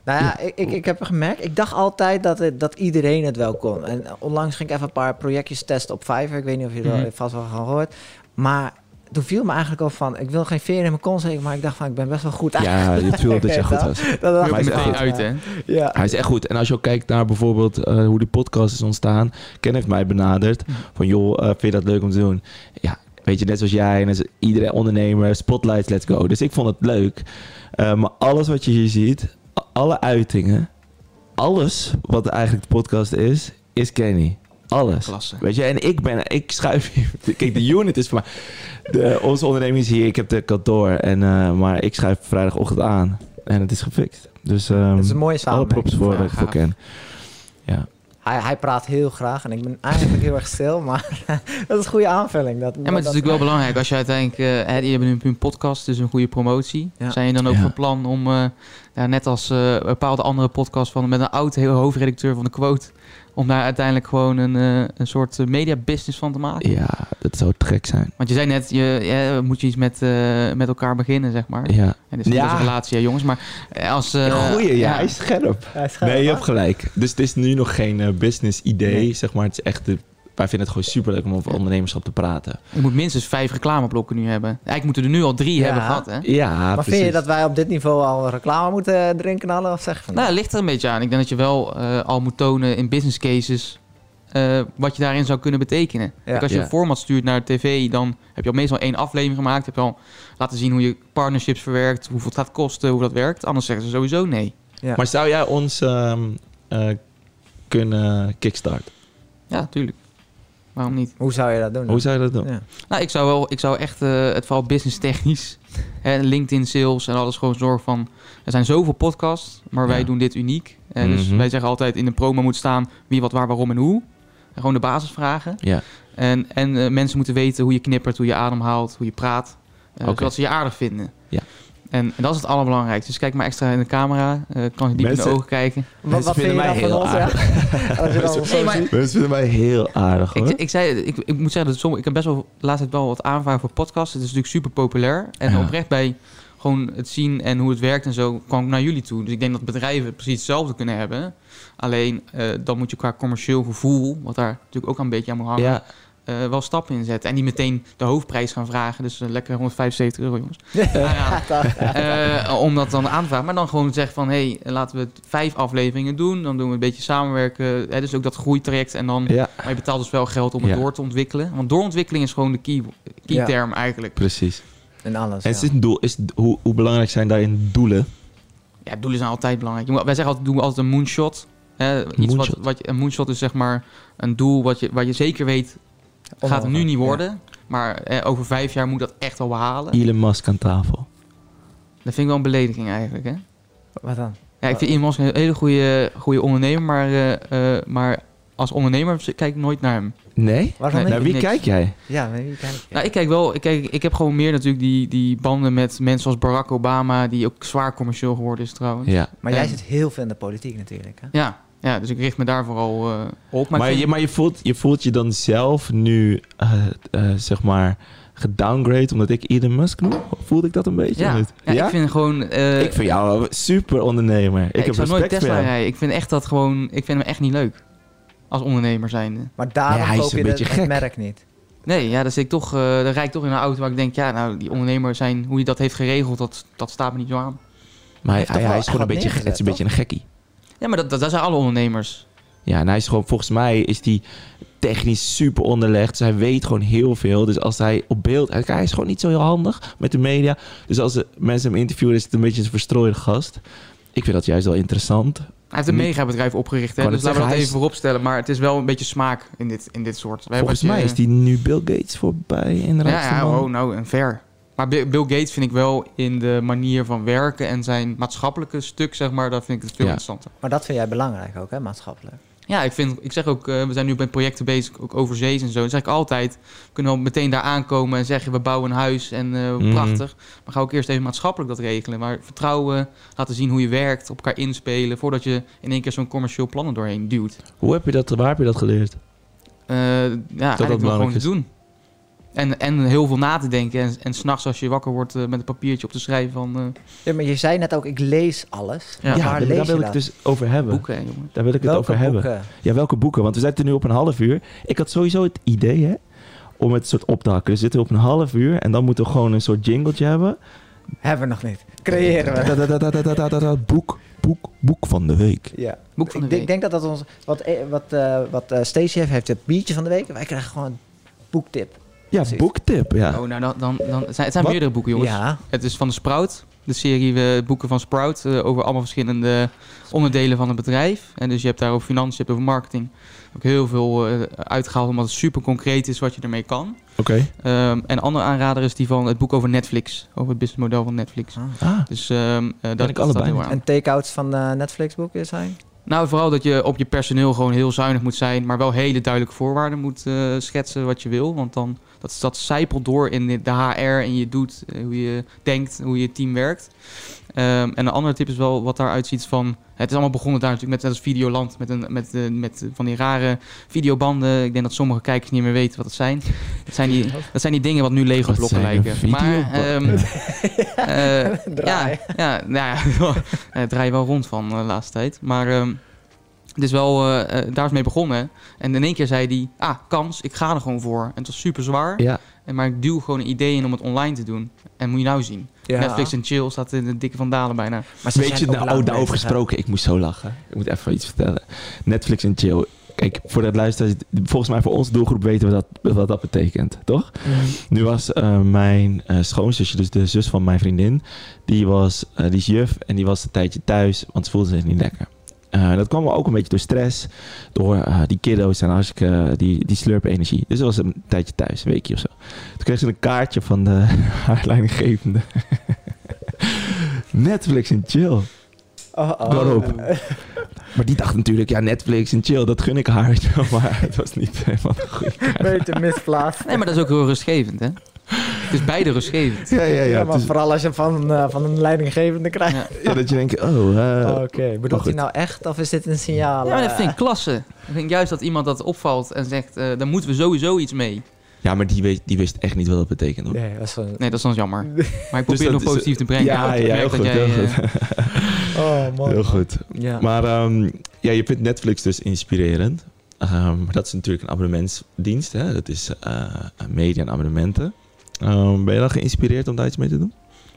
S4: Nou ja, ik, ik, ik heb gemerkt, ik dacht altijd dat, het- dat iedereen het wel kon. En onlangs ging ik even een paar projectjes testen op Fiverr. Ik weet niet of je dat
S3: Mhm.
S4: vast wel gehoord. Maar toen viel me eigenlijk al van, ik wil geen veren in mijn kont steken, maar ik dacht van, ik ben best wel goed.
S2: eh, Ja, het viel dat je goed was.
S4: Dat dacht
S2: Maar hij
S4: ik
S2: is
S4: wel.
S2: echt
S3: meteen
S2: goed.
S3: uit, hè?
S4: Ja.
S2: Hij is echt goed. En als je ook kijkt naar bijvoorbeeld eh, hoe die podcast is ontstaan. Ken heeft mij benaderd.
S4: Mm.
S2: Van joh, eh, vind je dat leuk om te doen? Ja, weet je, net zoals jij en als iedere ondernemer. Spotlights, let's go. Dus ik vond het leuk. Eh, maar alles wat je hier ziet, a- alle uitingen. Alles wat eigenlijk de podcast is, is Kenny. Alles.
S3: Klasse.
S2: Weet je, en ik ben, ik schuif hier. Kijk, de unit is voor mij. De, onze onderneming is hier, ik heb de kantoor. En, eh, maar ik schuif vrijdagochtend aan. En het is gefixt. Dus, ehm,
S4: Dat is een mooie
S2: alle
S4: samenwerking.
S2: props voor, eh,
S3: Ja,
S2: voor
S3: gaaf.
S2: Ken. Ja.
S4: Hij, hij praat heel graag en ik ben eigenlijk heel erg stil, maar dat is een goede aanvulling. Dat,
S3: Ja, maar het is natuurlijk wel belangrijk als je uiteindelijk... eh hè, je hebt nu een podcast, dus een goede promotie.
S4: Ja.
S3: Zijn je dan ook
S2: Ja.
S3: van plan om, eh, ja, net als eh, een bepaalde andere podcast... Van, met een oud heel hoofdredacteur van de Quote... om daar uiteindelijk gewoon een, eh, een soort eh, media business van te maken?
S2: ja, dat zou te gek zijn.
S3: Want je zei net, je, ja, moet je iets met, eh, met elkaar beginnen, zeg maar.
S2: Ja.
S3: En dit is niet
S2: Ja.
S3: als een relatie, hè, jongens. Maar eh, als... eh,
S2: Goeie, ja, hij is scherp.
S4: Hij is
S2: Nee, je
S4: graag.
S2: hebt gelijk. Dus het is nu nog geen eh, business idee, zeg maar. Het is echt de, wij vinden het gewoon superleuk om over ondernemerschap te praten.
S3: Je moet minstens vijf reclameblokken nu hebben. Eigenlijk moeten we er nu al drie
S4: Ja.
S3: hebben gehad, hè?
S2: Ja,
S4: maar
S2: precies.
S4: vind je dat wij op dit niveau al reclame moeten erin knallen? Of zeg je van,
S3: Nou, dat ligt er een beetje aan. Ik denk dat je wel eh, al moet tonen in business cases eh, wat je daarin zou kunnen betekenen. Kijk, als je
S2: Ja.
S3: een format stuurt naar tv, dan heb je al meestal één aflevering gemaakt. Heb je al laten zien hoe je partnerships verwerkt, hoeveel het gaat kosten, hoe dat werkt. Anders zeggen ze sowieso nee.
S4: Ja.
S2: Maar zou jij ons ehm, eh, kunnen kickstarten?
S3: Ja, tuurlijk. Waarom niet?
S4: Hoe zou je dat doen?
S2: Hoe zou je dat doen?
S4: Ja.
S3: Nou, ik zou wel, ik zou echt eh, het vooral business technisch, hè, LinkedIn sales en alles gewoon zorgen van. Er zijn zoveel podcasts, maar wij
S2: Ja.
S3: doen dit uniek. En Dus
S2: Mhm.
S3: wij zeggen altijd in de promo moet staan wie, wat, waar, waarom en hoe. En gewoon de basisvragen.
S2: Ja.
S3: En, en eh, mensen moeten weten hoe je knippert, hoe je ademhaalt, hoe je praat. eh,
S2: Oké.
S3: Zodat ze je aardig vinden.
S2: Ja.
S3: En, en dat is het allerbelangrijkste. Dus kijk maar extra in de camera. eh, kan je diep in
S2: Mensen-
S3: de ogen kijken.
S4: Wat, wat vind je
S2: vinden
S4: dan
S2: mij
S4: van
S2: heel
S4: ons? Ja? Als je dan ons zo
S3: Nee, maar-
S4: ziet.
S2: Mensen vinden mij heel aardig, hoor.
S3: Ik, ik, zei, ik, ik moet zeggen, dat sommige, ik heb best wel de laatste tijd wel wat aanvragen voor podcasts. Het is natuurlijk super populair. En
S2: Ja.
S3: oprecht bij gewoon het zien en hoe het werkt en zo, kwam ik naar jullie toe. Dus ik denk dat bedrijven precies hetzelfde kunnen hebben. Alleen, eh, dan moet je qua commercieel gevoel, wat daar natuurlijk ook een beetje aan moet hangen,
S2: ja,
S3: eh, wel stappen in zetten. En niet meteen de hoofdprijs gaan vragen. Dus eh, lekker 175 euro, jongens. Nou Ja, eh, om dat dan aan te vragen. Maar dan gewoon zeggen van, hé, hey, laten we het vijf afleveringen doen. Dan doen we een beetje samenwerken. Hè, dus ook dat groeitraject en dan...
S2: ja,
S3: Maar je betaalt dus wel geld om het
S2: Ja.
S3: door te ontwikkelen. Want doorontwikkeling is gewoon de key, key
S4: Ja.
S3: term eigenlijk.
S2: precies.
S4: En alles.
S2: En
S4: ja.
S2: is dit een doel, is, hoe, hoe belangrijk zijn daarin doelen?
S3: Ja, doelen zijn nou altijd belangrijk. Je moet- Wij zeggen altijd, doen we altijd een moonshot. Hè, iets
S2: Moonshot.
S3: Wat, wat, je- een moonshot is zeg maar een doel wat je, waar je zeker weet, gaat het nu niet worden. Maar eh, over vijf jaar moet dat echt wel behalen.
S2: Elon Musk aan tafel.
S3: Dat vind ik wel een belediging eigenlijk. Hè?
S4: Wat dan?
S3: Ja, ik vind Elon Musk een hele goede, goede ondernemer, maar, eh, eh, maar als ondernemer kijk ik nooit naar hem.
S2: Nee?
S4: Waarom
S3: Nee,
S4: niet?
S2: Naar wie
S3: niks.
S2: kijk jij?
S4: Ja, maar wie kijkt?
S3: Nou, ik kijk wel. Ik, kijk, ik heb gewoon meer natuurlijk die, die banden met mensen als Barack Obama, die ook zwaar commercieel geworden is trouwens.
S2: Ja.
S4: Maar jij
S3: en-
S4: zit heel veel in de politiek natuurlijk. Hè?
S3: Ja, ja dus ik richt me daar vooral eh, op. Maar,
S2: Maar,
S3: ik vind-
S2: je, maar je, voelt, je voelt je dan zelf nu, eh, eh, zeg maar, gedowngrade omdat ik Elon Musk noem? Voelde ik dat een beetje?
S3: ja,
S2: of niet?
S3: ja, ik vind gewoon... eh,
S2: Ik vind jou een super ondernemer. ik
S3: ja,
S2: heb
S3: zou nooit
S2: respect
S3: Tesla
S2: voor jou.
S3: rijden. Ik vind echt dat gewoon... Ik vind hem echt niet leuk. Als ondernemer zijnde.
S4: Maar daarom
S2: Nee, hij is
S4: koop je
S2: een
S4: de-
S2: beetje
S4: het
S2: gek.
S4: merk niet.
S3: Nee, ja, dan, zit ik toch, eh dan rijd ik toch in een auto waar ik denk... Ja, nou, die ondernemer zijn... Hoe hij dat heeft geregeld, dat, dat staat me niet zo aan.
S2: Maar hij,
S4: heeft toch
S2: hij
S4: wel
S2: is gewoon een
S4: echt
S2: beetje,
S4: wat
S2: het is een beetje een gekkie.
S3: Ja, maar dat, dat, dat zijn alle ondernemers.
S2: Ja, en hij is gewoon, volgens mij is die technisch super onderlegd. Dus hij weet gewoon heel veel. Dus als hij op beeld... Hij hij is gewoon niet zo heel handig met de media. Dus als de mensen hem interviewen, is het een beetje een verstrooide gast. Ik vind dat juist wel interessant.
S3: Hij heeft een
S2: Niet-
S3: megabedrijf opgericht, hè,
S2: Ik
S3: dus
S2: wou net
S3: laten we dat
S2: zeggen, hij
S3: even
S2: is-
S3: vooropstellen. Maar het is wel een beetje smaak in dit, in dit soort. We hebben
S2: Volgens
S3: het,
S2: mij
S3: eh,
S2: is die nu Bill Gates voorbij. En
S3: Ja,
S2: rijkste
S3: ja
S2: man.
S3: oh, nou, en ver. Maar Bi- Bill Gates vind ik wel in de manier van werken en zijn maatschappelijke stuk, zeg maar, daar vind ik het veel
S2: Ja.
S3: interessanter.
S4: Maar dat vind jij belangrijk ook, hè, maatschappelijk.
S3: Ja, ik, vind, ik zeg ook, eh, we zijn nu met projecten bezig, ook over zees en zo. Dan zeg ik altijd, we kunnen wel meteen daar aankomen en zeggen, we bouwen een huis en eh,
S2: Mhm.
S3: prachtig. Maar ga ook eerst even maatschappelijk dat regelen. Maar vertrouwen, laten zien hoe je werkt, op elkaar inspelen, voordat je in één keer zo'n commercieel plan er doorheen duwt.
S2: Hoe heb je dat, waar heb je dat geleerd?
S3: Eh, ja, eigenlijk door
S2: belangrijk
S3: gewoon te
S2: is.
S3: doen. En, en heel veel na te denken. En, en s'nachts als je wakker wordt eh, met een papiertje op te schrijven van... eh,
S4: Ja, maar je zei net ook, ik lees alles.
S3: Ja.
S4: Ja, waar
S2: daar, daar wil
S4: lees je
S2: ik
S4: dat?
S2: het dus over hebben.
S3: boeken, hè, jongen.
S2: Daar wil ik het
S4: Welke
S2: over hebben.
S4: boeken?
S2: Ja, welke boeken? Want we zitten nu op een half uur. Ik had sowieso het idee, hè, om het soort op te hakken. Dus we zitten op een half uur en dan moeten we gewoon een soort jingletje hebben.
S4: Hebben we nog niet. Creëren we.
S2: Da-da-da-da-da-da-da-da, Boek, boek, boek van de week.
S4: Ja.
S3: Boek van de
S4: ik denk-
S3: week.
S4: denk dat dat ons... Wat, eh, wat, eh, wat eh, Stacey heeft, heeft het biertje van de week. Wij krijgen gewoon een boektip.
S2: Ja,
S4: Precies.
S2: boektip. Ja.
S3: Oh, nou, dan, dan, dan, het zijn, het zijn
S2: Wat?
S3: meerdere boeken, jongens.
S4: Ja.
S3: Het is van de Sprout. De serie eh, boeken van Sprout eh, over allemaal verschillende onderdelen van het bedrijf. En dus je hebt daar over financiën, je hebt over marketing. Ook heel veel eh, uitgehaald omdat het super concreet is wat je ermee kan.
S2: Oké.
S3: Ehm, en een ander aanrader is die van het boek over Netflix. Over het businessmodel van Netflix.
S2: Ah,
S3: Dus ehm, eh, dat
S2: ik
S3: dat
S2: allebei
S3: staat heel
S2: niet.
S3: aan.
S4: En take-outs van eh, Netflix boeken zijn.
S3: Nou, vooral dat je op je personeel gewoon heel zuinig moet zijn, maar wel hele duidelijke voorwaarden moet eh, schetsen wat je wil. Want dan, dat, dat zijpelt door in de HR en je doet, eh, hoe je denkt, hoe je team werkt. Ehm, en een andere tip is wel wat daaruit ziet van, het is allemaal begonnen daar natuurlijk met dat Videoland, met, een, met, eh, met van die rare videobanden. Ik denk dat sommige kijkers niet meer weten wat het zijn. Dat zijn die, dat zijn die dingen wat nu Lego
S2: Wat
S3: blokken
S2: zijn de
S3: lijken. Maar, ehm
S2: videobanden?
S3: eh,
S4: Draai.
S3: ja, ja, nou ja, eh, draai je wel rond van eh, de laatste tijd. Maar ehm, het is wel, eh, eh, daar is mee begonnen. En in één keer zei hij, ah, kans, ik ga er gewoon voor. En het was super zwaar.
S2: ja.
S3: En, maar ik duw gewoon een idee in om het online te doen. En moet je nou zien.
S4: Ja.
S3: Netflix en chill staat in de dikke vandalen bijna.
S4: Maar ze
S2: Weet je,
S4: zijn ook
S2: nou,
S4: lang
S2: oh, daarover
S4: bezig, hè.
S2: gesproken, ik moest zo lachen. Ik moet even iets vertellen. Netflix en chill. Kijk, voor dat luisteraars, volgens mij voor onze doelgroep weten we dat, wat dat betekent, toch?
S4: Mhm.
S2: Nu was eh, mijn eh, schoonzusje, dus de zus van mijn vriendin, die, was, eh, die is juf en die was een tijdje thuis, want ze voelde zich niet lekker. Eh, dat kwam wel ook een beetje door stress, door eh, die kiddo's en hartstikke, eh, die, die slurpen energie. Dus ze was een tijdje thuis, een weekje of zo. Toen kreeg ze een kaartje van de, haar leidinggevende. Netflix en chill.
S4: Oh, oh.
S2: Daarop. Maar die dacht natuurlijk, ja, Netflix en chill, dat gun ik haar. weet je wel. Maar het was niet helemaal een goede kaart.
S4: Beetje misplaatst.
S3: Nee, maar dat is ook heel rustgevend, hè? Het is beide rustgevend.
S2: Ja, ja,
S4: Ja,
S2: ja.
S4: maar
S2: het is-
S4: vooral als je van, eh, van een leidinggevende krijgt.
S3: Ja.
S2: ja, dat je denkt, oh, eh,
S4: Oké, bedoelt hij
S2: goed.
S4: nou echt of is dit een signaal?
S3: Ja, maar dat
S4: eh,
S3: vind ik klasse. Ik vind juist dat iemand dat opvalt en zegt, eh, daar moeten we sowieso iets mee.
S2: Ja, maar die, weet, die wist echt niet wat dat betekende. hoor.
S4: Nee, dat is gewoon...
S3: Nee, dat is dan jammer. Maar ik probeer
S2: dat
S3: het nog
S2: is-
S3: positief te brengen.
S2: Ja,
S3: Ik
S2: ja,
S3: merk
S2: heel goed,
S3: dat jij,
S2: heel
S3: eh,
S2: goed.
S4: Oh, man.
S2: Heel goed.
S4: Ja.
S2: Maar ehm, ja, je vindt Netflix dus inspirerend. Ehm, maar dat is natuurlijk een abonnementsdienst. Hè? Dat is eh, media en abonnementen. Ehm, ben je dan geïnspireerd om daar iets mee te doen?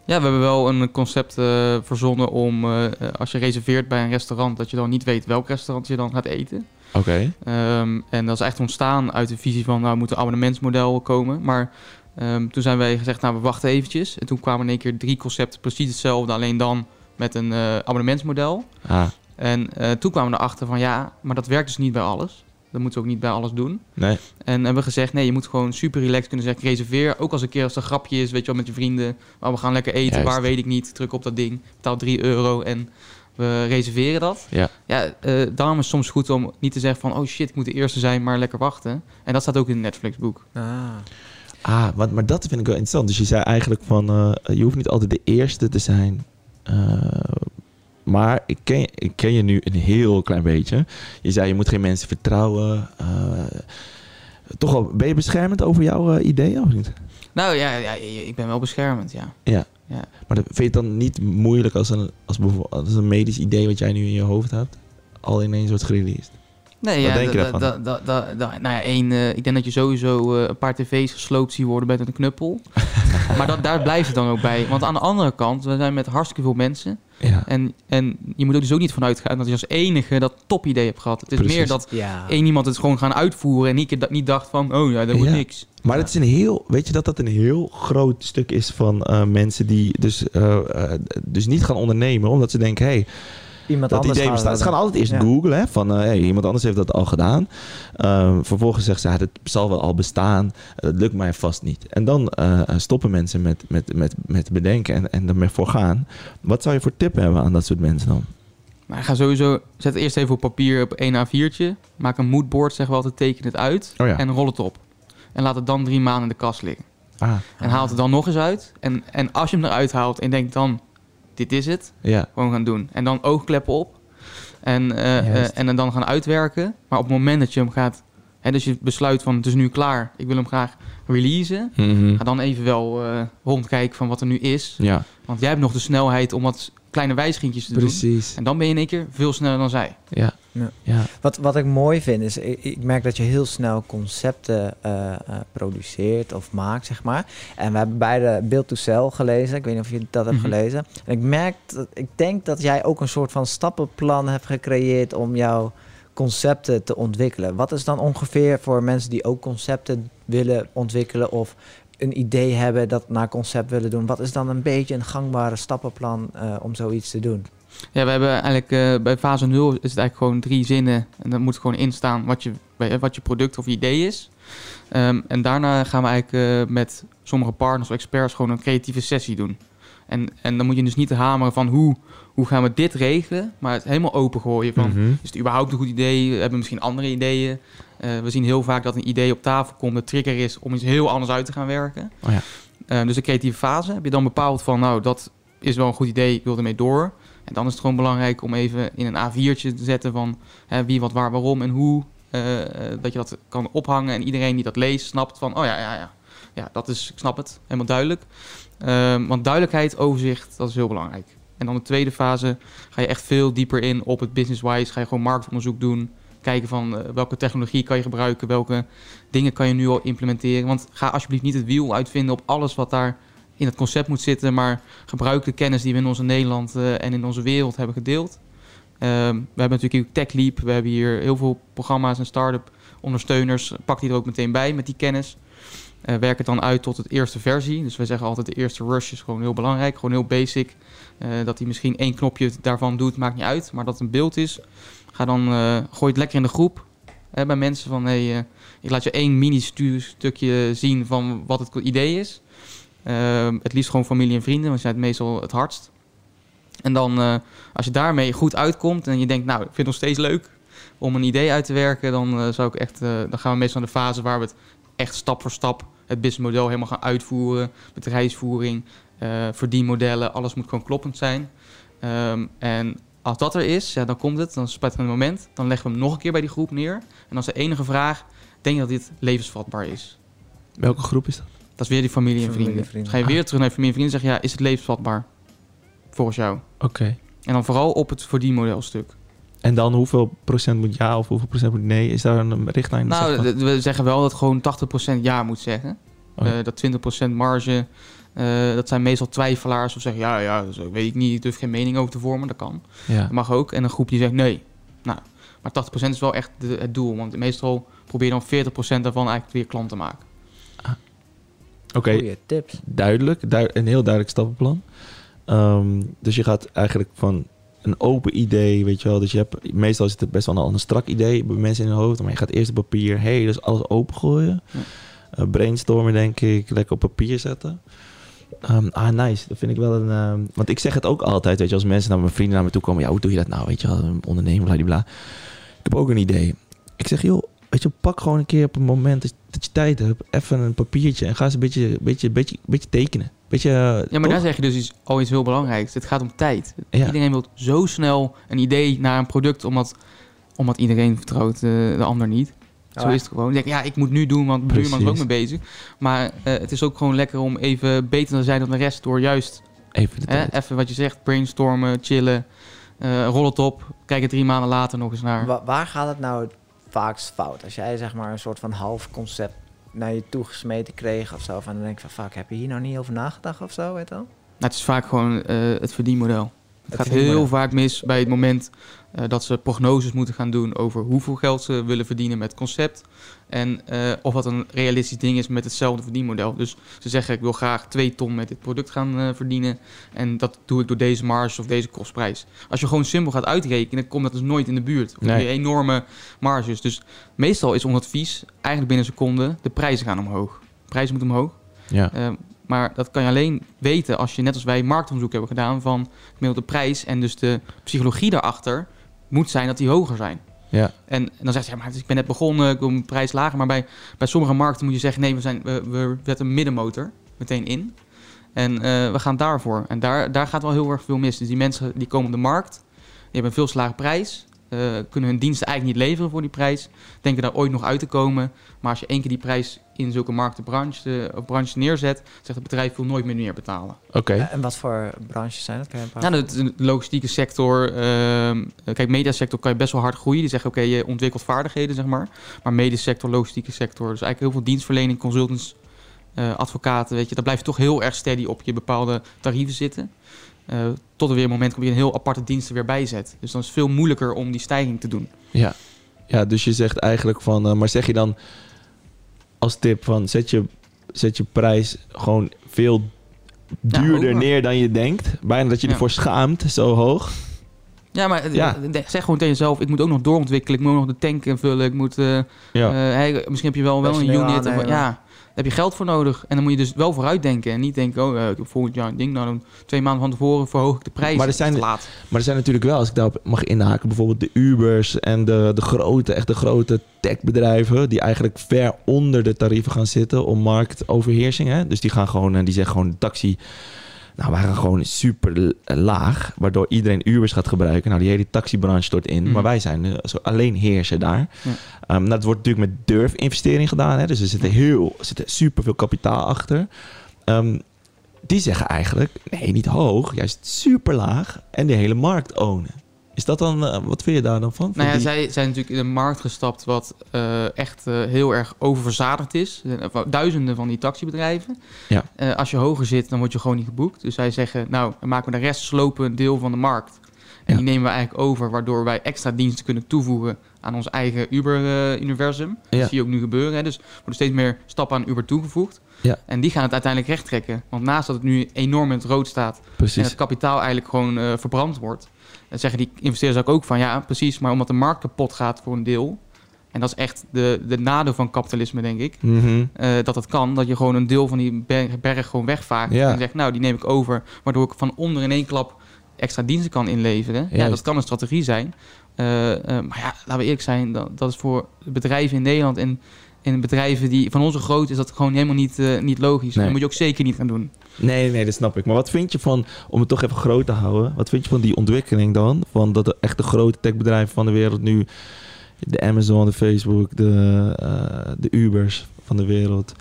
S3: Ja, we hebben wel een concept eh, verzonnen om eh, eh, als je reserveert bij een restaurant, dat je dan niet weet welk restaurant je dan gaat eten.
S2: Oké.
S3: Ehm, en dat is echt ontstaan uit de visie van, nou moet een abonnementsmodel komen. Maar ehm, toen zijn wij gezegd, nou we wachten eventjes. En toen kwamen in één keer drie concepten precies hetzelfde, alleen dan met een eh, abonnementsmodel.
S2: Ah,
S3: En eh, toen kwamen we erachter van, ja, maar dat werkt dus niet bij alles. Dat moeten we ook niet bij alles doen.
S2: nee.
S3: En hebben gezegd, nee, je moet gewoon super relaxed kunnen zeggen, ik reserveer. Ook als een keer als er een grapje is, weet je wel, met je vrienden. Maar we gaan lekker eten,
S2: Juist.
S3: waar weet ik niet. Druk op dat ding, betaal 3 euro en we reserveren dat.
S2: Ja.
S3: ja eh, daarom is het soms goed om niet te zeggen van, oh shit, ik moet de eerste zijn, maar lekker wachten. En dat staat ook in het Netflix-boek.
S4: Ah.
S2: Ah, maar, maar dat vind ik wel interessant. Dus je zei eigenlijk van, eh, je hoeft niet altijd de eerste te zijn. Eh, maar ik ken, je- ik ken je nu een heel klein beetje. Je zei, je moet geen mensen vertrouwen. eh, toch wel, ben je beschermend over jouw eh, ideeën of niet?
S3: Nou ja, ja, ik ben wel beschermend, ja.
S2: Ja.
S3: Ja.
S2: Maar dat, vind je het dan niet moeilijk als een, als, bijvoorbeeld, als een medisch idee wat jij nu in je hoofd hebt, al ineens wordt gereleased?
S3: Nee,
S2: Wat
S3: ja,
S2: denk je
S3: da-
S2: daarvan?
S3: da- da- da- da- nou ja, één, eh, ik denk dat je sowieso eh, een paar tv's gesloopt ziet worden met een knuppel. maar dat, daar blijft het dan ook bij. Want aan de andere kant, we zijn met hartstikke veel mensen.
S2: Ja.
S3: En, en je moet er dus ook niet van uitgaan dat je als enige dat topidee hebt gehad. Het is
S2: Precies. Ah.
S3: meer dat
S4: Ja.
S3: één iemand het gewoon gaan uitvoeren en niet, dat niet dacht van, oh ja, dat wordt
S2: Ja.
S3: niks.
S2: Maar het is een heel, weet je dat dat een heel groot stuk is van eh, mensen die dus, eh, eh, dus niet gaan ondernemen, omdat ze denken, hey,
S4: Iemand
S2: dat
S4: anders
S2: idee bestaat. Ze gaan altijd eerst
S4: Ja.
S2: googlen, hè, van eh, hey, iemand anders heeft dat al gedaan. Ehm, vervolgens zeggen ze, het dat zal wel al bestaan, dat lukt mij vast niet. En dan eh, stoppen mensen met, met, met, met bedenken en, en ermee voor gaan. Wat zou je voor tip hebben aan dat soort mensen dan?
S3: Maar ga sowieso, zet eerst even op papier op één A4'tje. Maak een moodboard, zeg wel altijd, teken het uit.
S2: Oh ja.
S3: En rol het op. En laat het dan drie maanden in de kast liggen.
S2: Ah,
S3: En haal het er dan nog eens uit. En, en als je hem eruit haalt en denkt dan, dit is het.
S2: ja.
S3: Gewoon gaan doen. En dan oogkleppen op. En, eh,
S2: Juist.
S3: eh, en het dan gaan uitwerken. Maar op het moment dat je hem gaat... Hè, dus je besluit van het is nu klaar. Ik wil hem graag releasen.
S2: Mhm.
S3: Ga dan even wel eh, rondkijken van wat er nu is.
S2: Ja,
S3: Want jij hebt nog de snelheid om wat kleine wijzigingjes te doen.
S2: precies.
S3: En dan ben je in één keer veel sneller dan zij.
S2: Ja. Ja.
S4: Wat, wat ik mooi vind is, ik, ik merk dat je heel snel concepten eh, eh, produceert of maakt, zeg maar. En we hebben beide Build to Sell gelezen. Ik weet niet of je dat hebt
S3: Mhm.
S4: gelezen. En ik merk, dat, ik denk dat jij ook een soort van stappenplan hebt gecreëerd om jouw concepten te ontwikkelen. Wat is dan ongeveer voor mensen die ook concepten willen ontwikkelen of een idee hebben dat naar concept willen doen? Wat is dan een beetje een gangbare stappenplan eh, om zoiets te doen?
S3: Ja, we hebben eigenlijk eh, bij fase 0 is het eigenlijk gewoon drie zinnen. En dan moet gewoon in staan wat je, eh, wat je product of idee is. Ehm, en daarna gaan we eigenlijk eh, met sommige partners of experts gewoon een creatieve sessie doen. En, en dan moet je dus niet hameren van hoe, hoe gaan we dit regelen, maar het helemaal opengooien van
S2: Mhm.
S3: is het überhaupt een goed idee? Hebben we misschien andere ideeën? Eh, we zien heel vaak dat een idee op tafel komt, de trigger is om iets heel anders uit te gaan werken.
S2: Oh ja.
S3: Eh, dus de creatieve fase heb je dan bepaald van, nou, dat is wel een goed idee, ik wil ermee door. En dan is het gewoon belangrijk om even in een A4'tje te zetten van hè, wie, wat, waar, waarom en hoe. eh, eh, dat je dat kan ophangen en iedereen die dat leest snapt van, oh ja, ja, ja. Ja, dat is, ik snap het, helemaal duidelijk. Ehm, want duidelijkheid, overzicht, dat is heel belangrijk. En dan de tweede fase ga je echt veel dieper in op het business-wise. Ga je gewoon marktonderzoek doen. Kijken van eh, welke technologie kan je gebruiken, welke dingen kan je nu al implementeren. Want ga alsjeblieft niet het wiel uitvinden op alles wat daar in het concept moet zitten. Maar gebruik de kennis die we in onze Nederland eh, en in onze wereld hebben gedeeld. Ehm, we hebben natuurlijk ook Tech Leap. We hebben hier heel veel programma's en start-up ondersteuners. Pak die er ook meteen bij met die kennis. Eh, werk het dan uit tot het eerste versie. Dus we zeggen altijd de eerste rush is gewoon heel belangrijk. Gewoon heel basic. Eh, dat hij misschien één knopje daarvan doet, maakt niet uit. Maar dat het een beeld is. Ga dan, eh, gooi het lekker in de groep. Hè, bij mensen van, hey, eh, ik laat je één mini-stukje zien van wat het idee is. Ehm, het liefst gewoon familie en vrienden, want die zijn het meestal het hardst. En dan, eh, als je daarmee goed uitkomt en je denkt, nou, ik vind het nog steeds leuk om een idee uit te werken, dan, eh, zou ik echt, eh, dan gaan we meestal naar de fase waar we het echt stap voor stap, het businessmodel helemaal gaan uitvoeren, bedrijfsvoering, eh, verdienmodellen, alles moet gewoon kloppend zijn. Ehm, en als dat er is, ja, dan komt het, dan spet er een moment, dan leggen we hem nog een keer bij die groep neer. En als de enige vraag, denk je dat dit levensvatbaar is?
S2: Welke groep is dat?
S3: Dat is weer die familie en
S4: Familie en
S3: vrienden.
S4: vrienden.
S3: Dus ga je weer terug naar je familie en vrienden en zeg je, ja, is het levensvatbaar? Volgens jou.
S2: Oké.
S3: En dan vooral op het verdienmodelstuk.
S2: En dan hoeveel procent moet ja of hoeveel procent moet nee? Is daar een richtlijn?
S3: Nou,
S2: Zeg maar.
S3: d- we zeggen wel dat gewoon 80% ja moet zeggen.
S2: Oh ja.
S3: Eh, dat 20% marge, eh, dat zijn meestal twijfelaars. Of zeggen, ja, ja, dat weet ik niet, ik durf geen mening over te vormen, dat kan.
S2: ja.
S3: Dat mag ook. En een groep die zegt nee. Nou, maar 80% is wel echt de- het doel. Want meestal probeer je dan 40% daarvan eigenlijk weer klant te maken.
S2: Oké,
S4: Goeie tips.
S2: duidelijk. Dui- een heel duidelijk stappenplan. Ehm, dus je gaat eigenlijk van een open idee, weet je wel. Dus je hebt, meestal is het best wel een, een strak idee bij mensen in hun hoofd. Maar je gaat eerst op papier, hey, dus alles opengooien.
S3: Ja.
S2: Eh, brainstormen, denk ik. Lekker op papier zetten. Ehm, ah, nice. Dat vind ik wel een... ehm, want ik zeg het ook altijd, weet je. Als mensen naar mijn vrienden naar me toe komen. Ja, hoe doe je dat nou, weet je wel. een Ondernemen, bladibla. Ik heb ook een idee. Ik zeg, joh, weet je, pak gewoon een keer op een moment dat je, dat je tijd hebt, even een papiertje en ga eens een beetje, beetje, beetje, beetje tekenen. Beetje, eh,
S3: Ja, maar daar zeg je dus iets, al iets heel belangrijks. Het gaat om tijd.
S2: Ja.
S3: Iedereen wil zo snel een idee naar een product, omdat, omdat iedereen vertrouwt eh, de ander niet. Zo
S4: Oh,
S3: is het gewoon. Je denkt, ja, ik moet nu doen, want mijn buurman is er ook
S2: Ah. Precies.
S3: mee bezig. Maar eh, het is ook gewoon lekker om even beter te zijn dan de rest door juist
S2: even de
S3: hè,
S2: tijd.
S3: even wat je zegt, brainstormen, chillen, eh rol het op, kijk er drie maanden later nog eens naar.
S4: Wa- waar gaat het nou het vaakst fout? Als jij zeg maar een soort van half concept naar je toe gesmeten kreeg of zo. En dan denk je van, fuck, heb je hier nou niet over nagedacht of zo, weet je wel?
S3: Nou, het is vaak gewoon eh, het verdienmodel. Het, gaat
S4: verdienmodel.
S3: heel vaak mis bij het moment eh, dat ze prognoses moeten gaan doen over hoeveel geld ze willen verdienen met het concept. En eh, of dat een realistisch ding is met hetzelfde verdienmodel. Dus ze zeggen ik wil graag 2 ton met dit product gaan eh, verdienen. En dat doe ik door deze marge of deze kostprijs. Als je gewoon simpel gaat uitrekenen, komt dat dus nooit in de buurt. Of
S2: Nee.
S3: die enorme marges. Dus meestal is ons advies eigenlijk binnen seconden de prijzen gaan omhoog. Prijzen moeten omhoog.
S2: Ja.
S3: Eh, maar dat kan je alleen weten als je, net als wij, marktonderzoek hebben gedaan van gemiddelde prijs. En dus de psychologie daarachter moet zijn dat die hoger zijn.
S2: Ja.
S3: En, en dan zegt ze, ja, maar ik ben net begonnen, ik wil mijn prijs lager. Maar bij, bij sommige markten moet je zeggen, nee, we, zijn, we, we zetten een middenmotor meteen in. En eh, we gaan daarvoor. En daar, daar gaat wel heel erg veel mis. Dus die mensen die komen op de markt, die hebben een veel slagere prijs. eh, kunnen hun diensten eigenlijk niet leveren voor die prijs. Denken daar ooit nog uit te komen. Maar als je één keer die prijs in zulke marktenbranche eh, of branche neerzet, zegt het bedrijf wil nooit meer meer betalen.
S2: Oké.
S4: Eh, En wat voor branches zijn dat? Kan je een paar...
S3: Ja, de, de logistieke sector, ehm kijk, mediasector kan je best wel hard groeien. Die zeggen, oké, je ontwikkelt vaardigheden, zeg maar. Maar mediasector, logistieke sector, dus eigenlijk heel veel dienstverlening, consultants, eh, advocaten, weet je. Daar blijf je toch heel erg steady op je bepaalde tarieven zitten. Eh, tot er weer een moment komt dat je een heel aparte diensten weer bijzet. Dus dan is het veel moeilijker om die stijging te doen.
S2: Ja. ja, dus je zegt eigenlijk van... eh, maar zeg je dan als tip van... Zet je, zet je prijs gewoon veel duurder
S3: hoger.
S2: neer dan je denkt. Bijna dat je
S3: Ja.
S2: ervoor schaamt, zo hoog.
S3: Ja, maar eh,
S2: Ja.
S3: eh, zeg gewoon tegen jezelf, ik moet ook nog doorontwikkelen. Ik moet ook nog de tank invullen. Ik moet... eh,
S2: Ja.
S3: Eh, hey, misschien heb je wel, wel een
S4: Personeel
S3: unit. Of,
S4: aannemen.
S3: ja, daar heb je geld voor nodig. En dan moet je dus wel vooruit denken. En niet denken, oh, eh, ik heb volgend jaar een ding. Nou, dan twee maanden van tevoren verhoog ik de prijs.
S2: Maar er
S3: Dat is
S2: zijn-
S3: te laat.
S2: Maar er zijn natuurlijk wel, als ik daarop mag inhaken, bijvoorbeeld de Ubers en de, de grote, echt de grote techbedrijven, die eigenlijk ver onder de tarieven gaan zitten om marktoverheersing. Hè? Dus die gaan gewoon, eh, die zeggen gewoon taxi. Nou, wij gaan gewoon super eh, laag, waardoor iedereen Ubers gaat gebruiken. Nou, die hele taxibranche stort in,
S3: Mhm.
S2: maar wij zijn eh, zo alleen heerser daar.
S3: Ja.
S2: Ehm, nou, dat wordt natuurlijk met durfinvestering gedaan, hè? dus er zitten heel, er zitten super veel kapitaal achter. Ehm, die zeggen eigenlijk, nee, niet hoog, juist super laag en de hele markt ownen. Is dat dan, eh, wat vind je daar dan van?
S3: Nou ja,
S2: Van die-
S3: zij zijn natuurlijk in een markt gestapt wat eh, echt eh, heel erg oververzadigd is. Er zijn, eh, Duizenden van die taxibedrijven.
S2: Ja.
S3: Eh, als je hoger zit, dan word je gewoon niet geboekt. Dus zij zeggen, nou, dan maken we de rest slopen een deel van de markt. En
S2: Ja.
S3: die nemen we eigenlijk over, waardoor wij extra diensten kunnen toevoegen aan ons eigen Uber-universum.
S2: Ja.
S3: Dat zie je ook nu gebeuren. Hè. Dus er worden steeds meer stappen aan Uber toegevoegd.
S2: Ja.
S3: En die gaan het uiteindelijk recht trekken. Want naast dat het nu enorm in het rood staat, en
S2: Precies.
S3: het kapitaal eigenlijk gewoon eh, verbrand wordt. Dan zeggen die investeerders ook, ook van ja, precies, maar omdat de markt kapot gaat voor een deel. En dat is echt de, de nadeel van kapitalisme, denk ik.
S2: Mhm.
S3: eh, dat het kan, dat je gewoon een deel van die berg, berg gewoon wegvaakt.
S2: Ja.
S3: En zegt, nou, die neem ik over. Waardoor ik van onder in één klap extra diensten kan inleveren. Ja,
S2: Juist.
S3: dat kan een strategie zijn. Eh, eh, maar ja, laten we eerlijk zijn, dat, dat is voor bedrijven in Nederland en, en bedrijven die van onze groot is dat gewoon helemaal niet, eh, niet logisch.
S2: Nee.
S3: Dat moet je ook zeker niet gaan doen.
S2: Nee, nee, dat snap ik. Maar wat vind je van, om het toch even groot te houden, wat vind je van die ontwikkeling dan? Van dat de echt de grote techbedrijven van de wereld nu, de Amazon, de Facebook, de, eh, de Ubers van de wereld,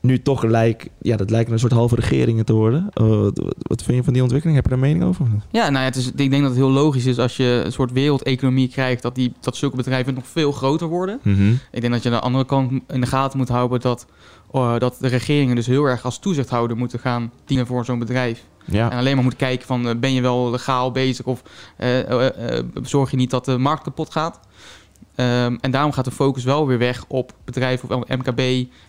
S2: nu toch lijkt, ja, dat lijken een soort halve regeringen te worden. Eh, wat, wat- wat vind je van die ontwikkeling? Heb je daar mening over? of niet?
S3: Ja, nou ja, het is, ik denk dat het heel logisch is als je een soort wereldeconomie krijgt, dat, die, dat zulke bedrijven nog veel groter worden.
S2: Mhm.
S3: Ik denk dat je aan de andere kant in de gaten moet houden dat, eh, dat de regeringen dus heel erg als toezichthouder moeten gaan dienen voor zo'n bedrijf.
S2: Ja.
S3: En alleen maar moeten kijken van eh, ben je wel legaal bezig of eh, eh, eh, zorg je niet dat de markt kapot gaat. Ehm, en daarom gaat de focus wel weer weg op bedrijven of MKB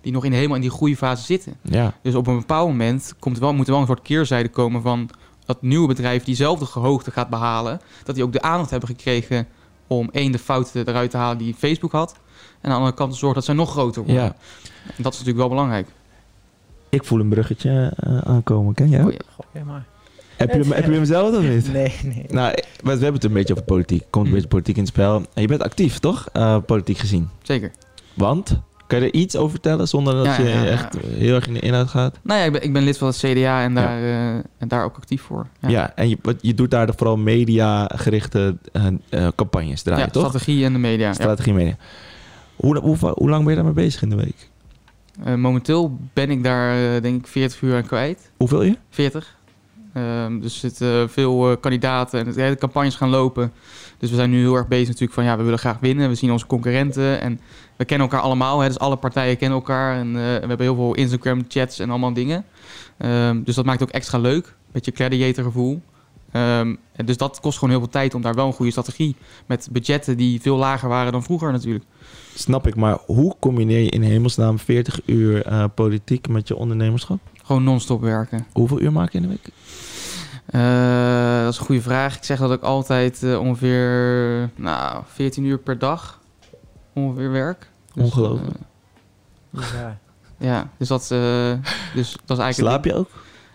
S3: die nog in, helemaal in die groeifase zitten.
S2: ja.
S3: Dus op een bepaald moment komt er wel, moet er wel een soort keerzijde komen van dat nieuwe bedrijf diezelfde hoogte gaat behalen. Dat die ook de aandacht hebben gekregen om één de fouten eruit te halen die Facebook had. En aan de andere kant te zorgen dat zij nog groter worden.
S2: Ja,
S3: En dat is natuurlijk wel belangrijk.
S2: ik voel een bruggetje eh, aankomen, ken jij?
S3: Oh ja.
S4: Goh, ja, maar.
S2: Heb je, hem- heb je hem zelf of niet?
S4: Nee, nee.
S2: Nou, ik- we we hebben het een beetje over politiek. Komt een beetje politiek in het spel. En je bent actief, toch? Eh, politiek gezien.
S3: Zeker.
S2: Want? Kan je er iets over vertellen zonder dat
S3: Ja,
S2: je
S3: ja, ja.
S2: echt heel erg in de inhoud gaat?
S3: Nou ja, ik ben, ik ben lid van het CDA en daar, eh, en daar ook actief voor.
S2: Ja, en je, wat- je doet daar vooral media-gerichte eh, eh, campagnes draaien,
S3: Ja,
S2: toch?
S3: strategie en de media. ja.
S2: Strategie media. Hoe, hoe, va- hoe lang ben je daarmee bezig in de week?
S3: Eh, momenteel ben ik daar eh, denk ik 40 uur aan kwijt.
S2: Hoeveel je?
S3: 40. Ehm, dus er zitten eh, veel eh, kandidaten en de hele campagnes gaan lopen. Dus we zijn nu heel erg bezig natuurlijk van ja, we willen graag winnen. We zien onze concurrenten en we kennen elkaar allemaal. Hè, dus alle partijen kennen elkaar en eh, we hebben heel veel Instagram chats en allemaal dingen. Ehm, dus dat maakt het ook extra leuk. Beetje gladiator gevoel. Ehm, en dus dat kost gewoon heel veel tijd om daar wel een goede strategie met budgetten die veel lager waren dan vroeger natuurlijk.
S2: Snap ik, maar hoe combineer je in hemelsnaam 40 uur eh, politiek met je ondernemerschap?
S3: Gewoon non-stop werken.
S2: Hoeveel uur maak je in de week?
S3: Eh, dat is een goede vraag. Ik zeg dat ik altijd eh, ongeveer nou, 14 uur per dag ongeveer werk. Dus,
S2: Ongelooflijk.
S3: eh,
S4: Bizar.
S3: ja, dus dat, eh, dus dat is eigenlijk...
S2: Slaap je ook?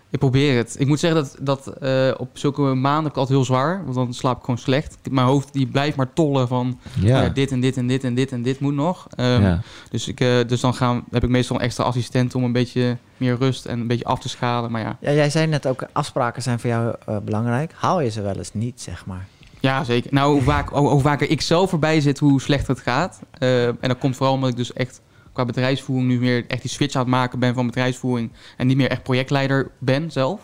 S3: Ik probeer het. Ik moet zeggen dat, dat eh, op zulke maanden heb ik altijd heel zwaar. Want dan slaap ik gewoon slecht. Mijn hoofd die blijft maar tollen van
S2: Ja.
S3: ja, dit en dit en dit en dit en dit moet nog. Ehm,
S2: ja.
S3: dus, ik, eh, dus dan gaan, heb ik meestal een extra assistent om een beetje meer rust en een beetje af te schalen. Maar ja,
S4: Ja, jij zei net ook, afspraken zijn voor jou eh, belangrijk. Haal je ze wel eens niet, zeg maar?
S3: Ja, zeker. Nou, hoe, vaak, hoe, hoe vaker ik zelf voorbij zit, hoe slechter het gaat. Eh, en dat komt vooral omdat ik dus echt qua bedrijfsvoering nu meer echt die switch aan het maken ben van bedrijfsvoering. En niet meer echt projectleider ben zelf.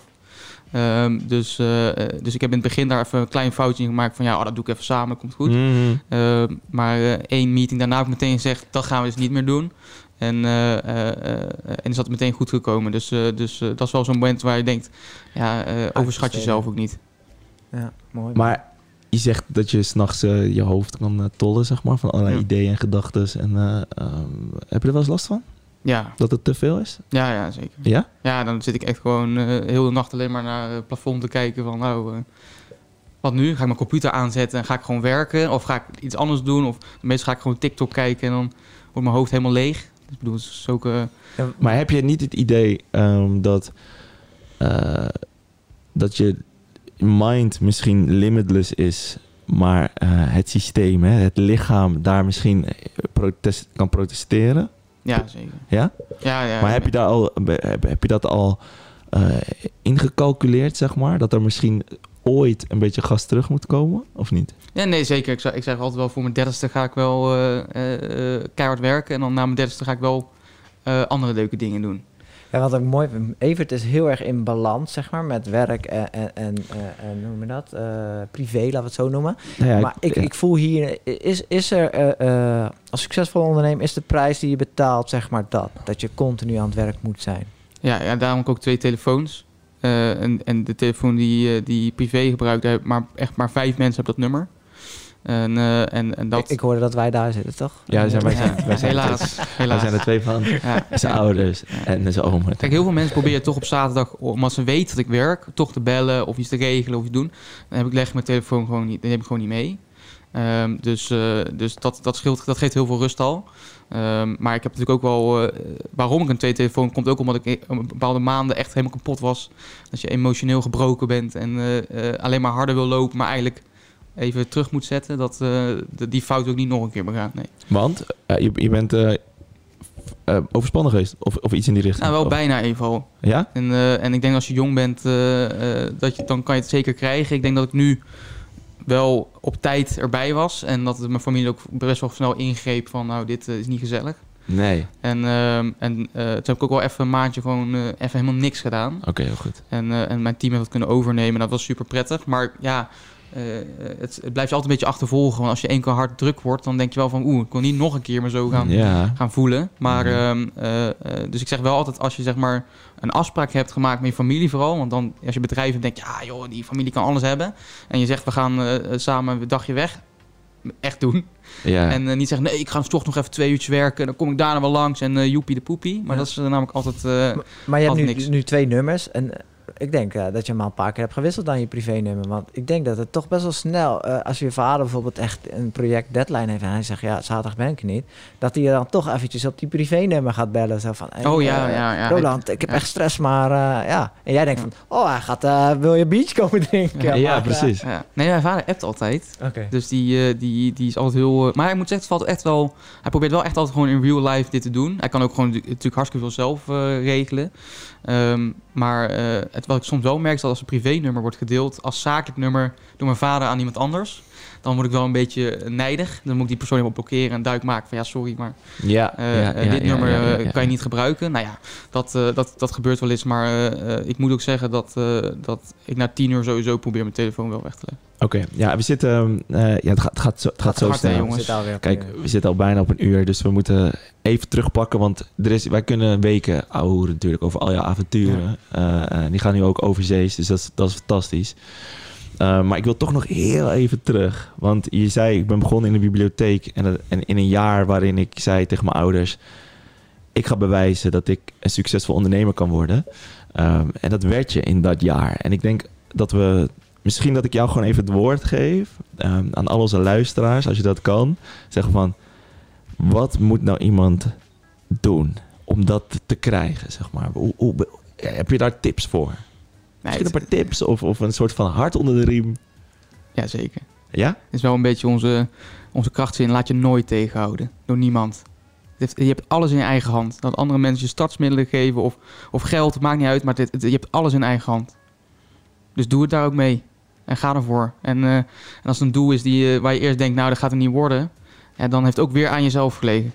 S3: Ehm, dus, eh, eh, dus ik heb in het begin daar even een klein foutje in gemaakt van ja, oh, dat doe ik even samen, komt goed.
S2: Mhm.
S3: Eh, maar eh, één meeting daarna heb ik meteen gezegd, dat gaan we dus niet meer doen. En, eh, eh, eh, en is dat meteen goed gekomen. Dus, eh, dus eh, dat is wel zo'n moment waar je denkt, ja, eh, overschat jezelf ook niet.
S4: Ja, mooi.
S2: Maar je zegt dat je s'nachts eh je hoofd kan eh, tollen, zeg maar, van allerlei
S3: Ja.
S2: ideeën en gedachten. En eh, ehm, heb je er wel eens last van?
S3: Ja,
S2: Dat het te veel is?
S3: ja, ja, zeker.
S2: Ja?
S3: Ja, dan zit ik echt gewoon eh, heel de nacht alleen maar naar het plafond te kijken van nou, eh, wat nu? Ga ik mijn computer aanzetten en ga ik gewoon werken? Of ga ik iets anders doen? Of meestal ga ik gewoon TikTok kijken en dan wordt mijn hoofd helemaal leeg. Dus ik bedoel, het is ook... eh,
S2: Maar heb je niet het idee ehm, dat, eh, dat je mind misschien limitless is, maar eh, het systeem, hè, het lichaam, daar misschien eh, protest, kan protesteren?
S3: ja, zeker.
S2: Ja?
S3: Ja, ja.
S2: Maar heb je, daar al, heb, heb je dat al eh, ingecalculeerd, zeg maar? Dat er misschien ooit een beetje gas terug moet komen, of niet?
S3: Ja, nee, zeker. Ik, zou- ik zeg altijd wel, voor mijn dertigste ga ik wel eh, eh, eh, keihard werken. En dan na mijn dertigste ga ik wel eh, andere leuke dingen doen.
S4: Ja, wat ik mooi vind, Evert is heel erg in balans, zeg maar, met werk en, en, en, eh, en hoe noem je dat? Eh, privé, laten we het zo noemen.
S2: Nou ja,
S4: maar ik, ik voel hier, is, is er, eh, eh, als succesvol ondernemer, is de prijs die je betaalt, zeg maar, dat? Dat je continu aan het werk moet zijn.
S3: Ja, ja daarom heb ik ook twee telefoons. Eh, en, en de telefoon die, eh, die privé gebruikt, daar heb maar echt maar vijf mensen hebben dat nummer. En, eh, en, en dat...
S4: Ik, ik hoorde dat wij daar zitten, toch?
S2: Ja, zijn wij
S3: Ja,
S2: zijn, wij zijn
S3: helaas.
S2: Wij
S3: helaas.
S2: zijn er twee van.
S3: Ja.
S2: Zijn ouders en zijn oom.
S3: Kijk, heel veel mensen proberen toch op zaterdag, omdat ze weten dat ik werk, toch te bellen of iets te regelen of iets te doen. Dan heb ik leg ik mijn telefoon gewoon niet, dan neem ik gewoon niet mee. Ehm, dus eh, dus dat, dat, scheelt, dat geeft heel veel rust al. Ehm, maar ik heb natuurlijk ook wel, eh, waarom ik een tweede telefoon komt ook omdat ik e- een bepaalde maanden echt helemaal kapot was. Dat je emotioneel gebroken bent en eh, eh, alleen maar harder wil lopen, maar eigenlijk even terug moet zetten. Dat, eh, dat die fout ook niet nog een keer begaat. Nee.
S2: Want eh, je, je bent eh, eh, overspannen geweest of, of iets in die richting.
S3: Nou, wel
S2: Of-
S3: bijna even al.
S2: Ja?
S3: En, eh, en ik denk als je jong bent, eh, eh, dat je, dan kan je het zeker krijgen. Ik denk dat ik nu wel op tijd erbij was. En dat mijn familie ook best wel snel ingreep van nou, dit eh, is niet gezellig.
S2: Nee.
S3: En, ehm, en eh, toen heb ik ook wel even een maandje gewoon eh, even helemaal niks gedaan.
S2: Oké, heel goed.
S3: En, eh, en mijn team heeft het kunnen overnemen. Dat was super prettig. Maar ja, eh, het, het blijft je altijd een beetje achtervolgen. Want als je één keer hard druk wordt, dan denk je wel van oeh, ik kon niet nog een keer me zo gaan
S2: Ja.
S3: gaan voelen. Maar,
S2: Mhm.
S3: ehm, eh, eh, dus ik zeg wel altijd, als je zeg maar een afspraak hebt gemaakt met je familie vooral, want dan als je bedrijven denkt, ja joh, die familie kan alles hebben. En je zegt, we gaan eh, eh, samen een dagje weg. Echt doen.
S2: ja.
S3: En eh, niet zeggen, nee, ik ga toch nog even twee uurtjes werken. Dan kom ik daarna wel langs en eh, joepie de poepie. Maar
S4: Ja.
S3: dat is eh, namelijk altijd... eh,
S4: Maar je hebt
S3: Had
S4: nu,
S3: niks.
S4: nu twee nummers en eh, ik denk eh, dat je hem al een paar keer hebt gewisseld aan je privénummer. Want ik denk dat het toch best wel snel, eh, als je vader bijvoorbeeld echt een project deadline heeft en hij zegt, ja, zaterdag ben ik er niet, dat hij je dan toch eventjes op die privénummer gaat bellen. Zo van, hey,
S3: oh ja,
S4: eh,
S3: ja, ja.
S4: Roland, ik heb
S3: ja.
S4: echt stress, maar eh, ja. En jij denkt van, oh, hij gaat, eh, wil je beach komen drinken?
S2: ja,
S4: Maar, eh,
S2: precies.
S3: Ja. Nee, mijn vader appt altijd.
S4: Oké. Nou,
S3: Dus die, eh, die, die is altijd heel... eh, maar hij moet zeggen, het valt echt wel... Hij probeert wel echt altijd gewoon in real life dit te doen. Hij kan ook gewoon du- natuurlijk hartstikke veel zelf eh, regelen. Ehm, maar eh, het, wat ik soms wel merk is dat als een privé-nummer wordt gedeeld... als zakelijk nummer door mijn vader aan iemand anders... dan word ik wel een beetje neidig. Dan moet ik die persoon helemaal blokkeren en duik maken van... ja, sorry, maar
S2: ja,
S3: eh,
S2: ja,
S3: eh,
S2: ja,
S3: dit
S2: ja,
S3: nummer
S2: ja, ja,
S3: eh,
S2: ja.
S3: kan je niet gebruiken. Nou ja, dat, eh, dat, dat gebeurt wel eens. Maar eh, eh, ik moet ook zeggen dat, eh, dat ik na tien uur sowieso probeer mijn telefoon wel weg te leggen.
S2: Oké, ja, we zitten... eh, ja, het gaat, het gaat zo, het gaat zo
S3: hard, hè,
S2: snel.
S3: jongens.
S4: Zit alweer op
S2: eh,
S4: eh,
S2: Kijk,
S4: een uur.
S2: we zitten al bijna op een uur, dus we moeten even terugpakken. Want er is, wij kunnen weken ouwehoeren natuurlijk over al jouw avonturen. Eh, eh, die gaan nu ook overzees, dus dat is, dat is fantastisch. Eh, maar ik wil toch nog heel even terug. Want je zei, ik ben begonnen in de bibliotheek. En, dat- en in een jaar waarin ik zei tegen mijn ouders... ik ga bewijzen dat ik een succesvol ondernemer kan worden. Ehm, en dat werd je in dat jaar. En ik denk dat we... Misschien dat ik jou gewoon even het woord geef ehm, aan al onze luisteraars, als je dat kan zeggen van wat moet nou iemand doen om dat te krijgen, zeg maar? Hoe, hoe, heb je daar tips voor?
S3: Nee,
S2: Misschien een
S3: het-
S2: paar tips of, of een soort van hart onder de riem.
S3: ja, zeker.
S2: Ja?
S3: is wel een beetje onze, onze krachtzin. Laat je nooit tegenhouden door niemand. Het heeft- Je hebt alles in je eigen hand. Dat andere mensen je startsmiddelen geven of, of geld, maakt niet uit. Maar dit, het- je hebt alles in eigen hand. Dus doe het daar ook mee. En ga ervoor. En, eh, en als het een doel is die, je- waar je eerst denkt, nou, dat gaat het niet worden. Ja, dan heeft het ook weer aan jezelf gelegen.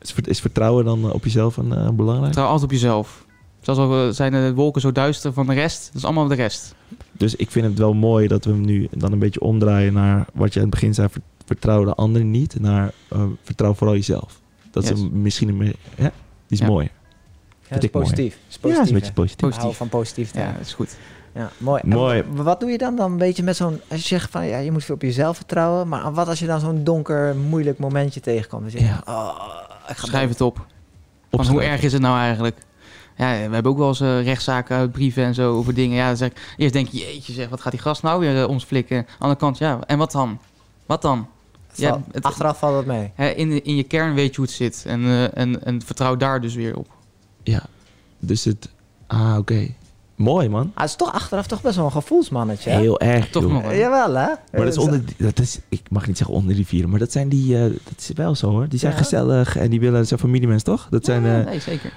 S2: Is, ver- is vertrouwen dan eh, op jezelf een, eh, belangrijk?
S3: Trouw altijd op jezelf. Zelfs al eh, zijn de wolken zo duister van de rest, dat is allemaal de rest.
S2: Dus ik vind het wel mooi dat we hem nu dan een beetje omdraaien naar wat je aan het begin zei. ver- vertrouw de ander niet, naar eh, vertrouw vooral jezelf. Dat is
S3: Yes.
S2: een- misschien een... me- Hè? Die is
S3: Ja.
S2: mooi.
S4: dat is
S2: ik mooi.
S4: positief. Dat is
S2: Ja, is
S4: positief.
S2: een beetje positief.
S4: hè. Ik hou
S3: Positief.
S4: van positief.
S3: Ja,
S4: Ja.
S3: dat is goed.
S4: ja, mooi. En
S2: Mooi.
S4: w- wat doe je dan dan een beetje met zo'n... Als je zegt van, ja, je moet veel op jezelf vertrouwen. Maar wat als je dan zo'n donker, moeilijk momentje tegenkomt? Dan zeg je,
S2: Ja.
S4: oh, ik ga
S3: Schrijf het op. Van hoe
S2: Opschrijven.
S3: erg is het nou eigenlijk? Ja, we hebben ook wel eens eh, rechtszaken, uit brieven en zo over dingen. Ja, dan zeg ik, eerst denk je, jeetje zeg, wat gaat die gast nou weer eh, ons flikken? Aan de andere kant, ja, en wat dan? Wat dan?
S4: Het valt-
S3: Ja, het-
S4: achteraf valt het mee.
S3: Hè, in, in je kern weet je hoe het zit en, eh, en, en vertrouw daar dus weer op.
S2: Ja, dus het... Ah, oké. Mooi, man.
S4: Ah, het is toch achteraf toch best wel een gevoelsmannetje. hè?
S2: Heel erg,
S3: Toch
S2: joh.
S3: nog.
S4: Eh, Jawel, hè? Eh,
S2: Maar dat is onder... Dat is, ik mag niet zeggen onder de vieren, maar dat zijn die... eh, dat is wel zo, hoor. Die zijn
S4: Ja.
S2: gezellig en die willen... Dat zijn familiemens, toch? Dat, zijn,
S3: Ja,
S2: eh,
S3: nee, zeker.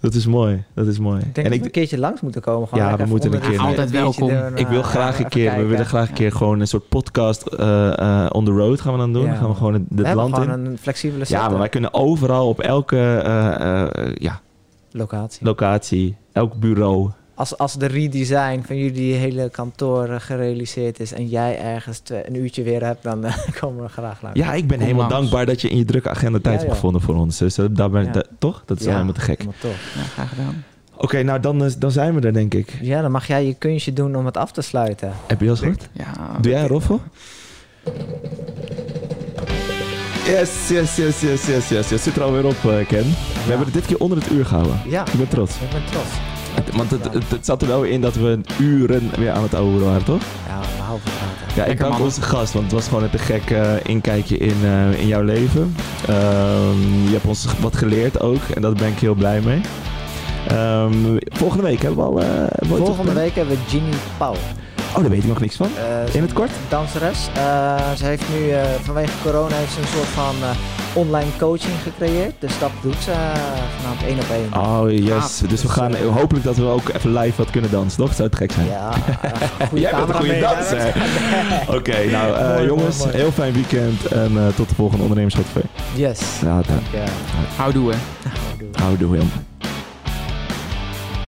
S2: dat is mooi. Dat is mooi.
S4: Ik denk
S2: en
S4: dat
S2: ik,
S4: we een keertje langs moeten komen. Gewoon
S2: Ja,
S4: lekker
S2: we moeten
S4: even
S2: een
S4: onder
S2: keer-
S4: de-
S3: Altijd
S4: een beetje
S3: welkom.
S4: er,
S2: Ik wil
S4: eh,
S2: graag een
S4: even
S2: keer, we
S4: kijken.
S2: willen graag een keer gewoon een soort podcast eh, eh, on the road gaan we dan doen.
S4: Ja.
S2: Dan gaan we gewoon het,
S4: We
S2: het
S4: hebben
S2: land in.
S4: gewoon een flexibele
S2: Ja, maar wij kunnen overal op elke eh, eh, ja,
S4: locatie.
S2: locatie, elk bureau.
S4: Als, als de redesign van jullie hele kantoor eh, gerealiseerd is en jij ergens twee- een uurtje weer hebt, dan eh, komen we graag langs.
S2: Ja, ik ben
S3: Kom
S2: helemaal
S3: langs.
S2: dankbaar dat je in je drukke agenda tijd
S4: Ja,
S2: hebt
S4: joh.
S2: gevonden voor ons. Dus eh, daar ben,
S4: Ja.
S2: da- toch? Dat is
S4: Ja,
S2: wel helemaal te gek.
S4: helemaal tof.
S3: Ja, graag gedaan.
S2: Oké, nou dan, eh, dan zijn we er denk ik.
S4: Ja, dan mag jij je kunstje doen om het af te sluiten.
S2: Heb je dat gehoord?
S3: Ja,
S2: Doe jij een roffel? Yes, yes, yes, yes, yes, yes. yes. Zit er alweer op, eh, Ken. We hebben het dit keer onder het uur gehouden.
S4: Ja,
S2: Ik ben trots.
S4: ik ben trots.
S2: Het- Want het, het, het zat er wel in dat we uren weer aan het ouwe waren, toch?
S4: Ja, we houden van praten.
S2: Ja, ik
S3: Lekker,
S2: dank
S3: man.
S2: onze gast, want het was gewoon net een gek eh, inkijkje in, eh, in jouw leven. Ehm, je hebt ons wat geleerd ook en daar ben ik heel blij mee. Ehm, volgende week hebben we al... eh, hebben we iets
S4: Volgende
S2: gepland?
S4: week hebben we Ginny Pauw.
S2: Oh, daar weet ik nog niks van.
S4: Eh,
S2: In het kort?
S4: danseres. Eh, ze heeft nu eh, vanwege corona heeft ze een soort van eh, online coaching gecreëerd. Dus dat doet ze eh, vanavond één op één.
S2: Oh, yes.
S4: Ah,
S2: dus we
S4: dus,
S2: gaan
S4: eh,
S2: hopelijk dat we ook even live wat kunnen dansen, toch? Zou het gek zijn?
S4: Ja, eh, goede
S2: Jij bent een goede
S4: cameraman, hè?
S2: danser. Oké, nou eh,
S4: Mooi, mooi,
S2: jongens,
S4: mooi.
S2: heel fijn weekend en eh, tot de volgende ondernemerschap.
S4: Yes.
S2: Later.
S4: Ja,
S3: houdoe hè.
S4: dat doen we.
S2: Houdoe, Wilma.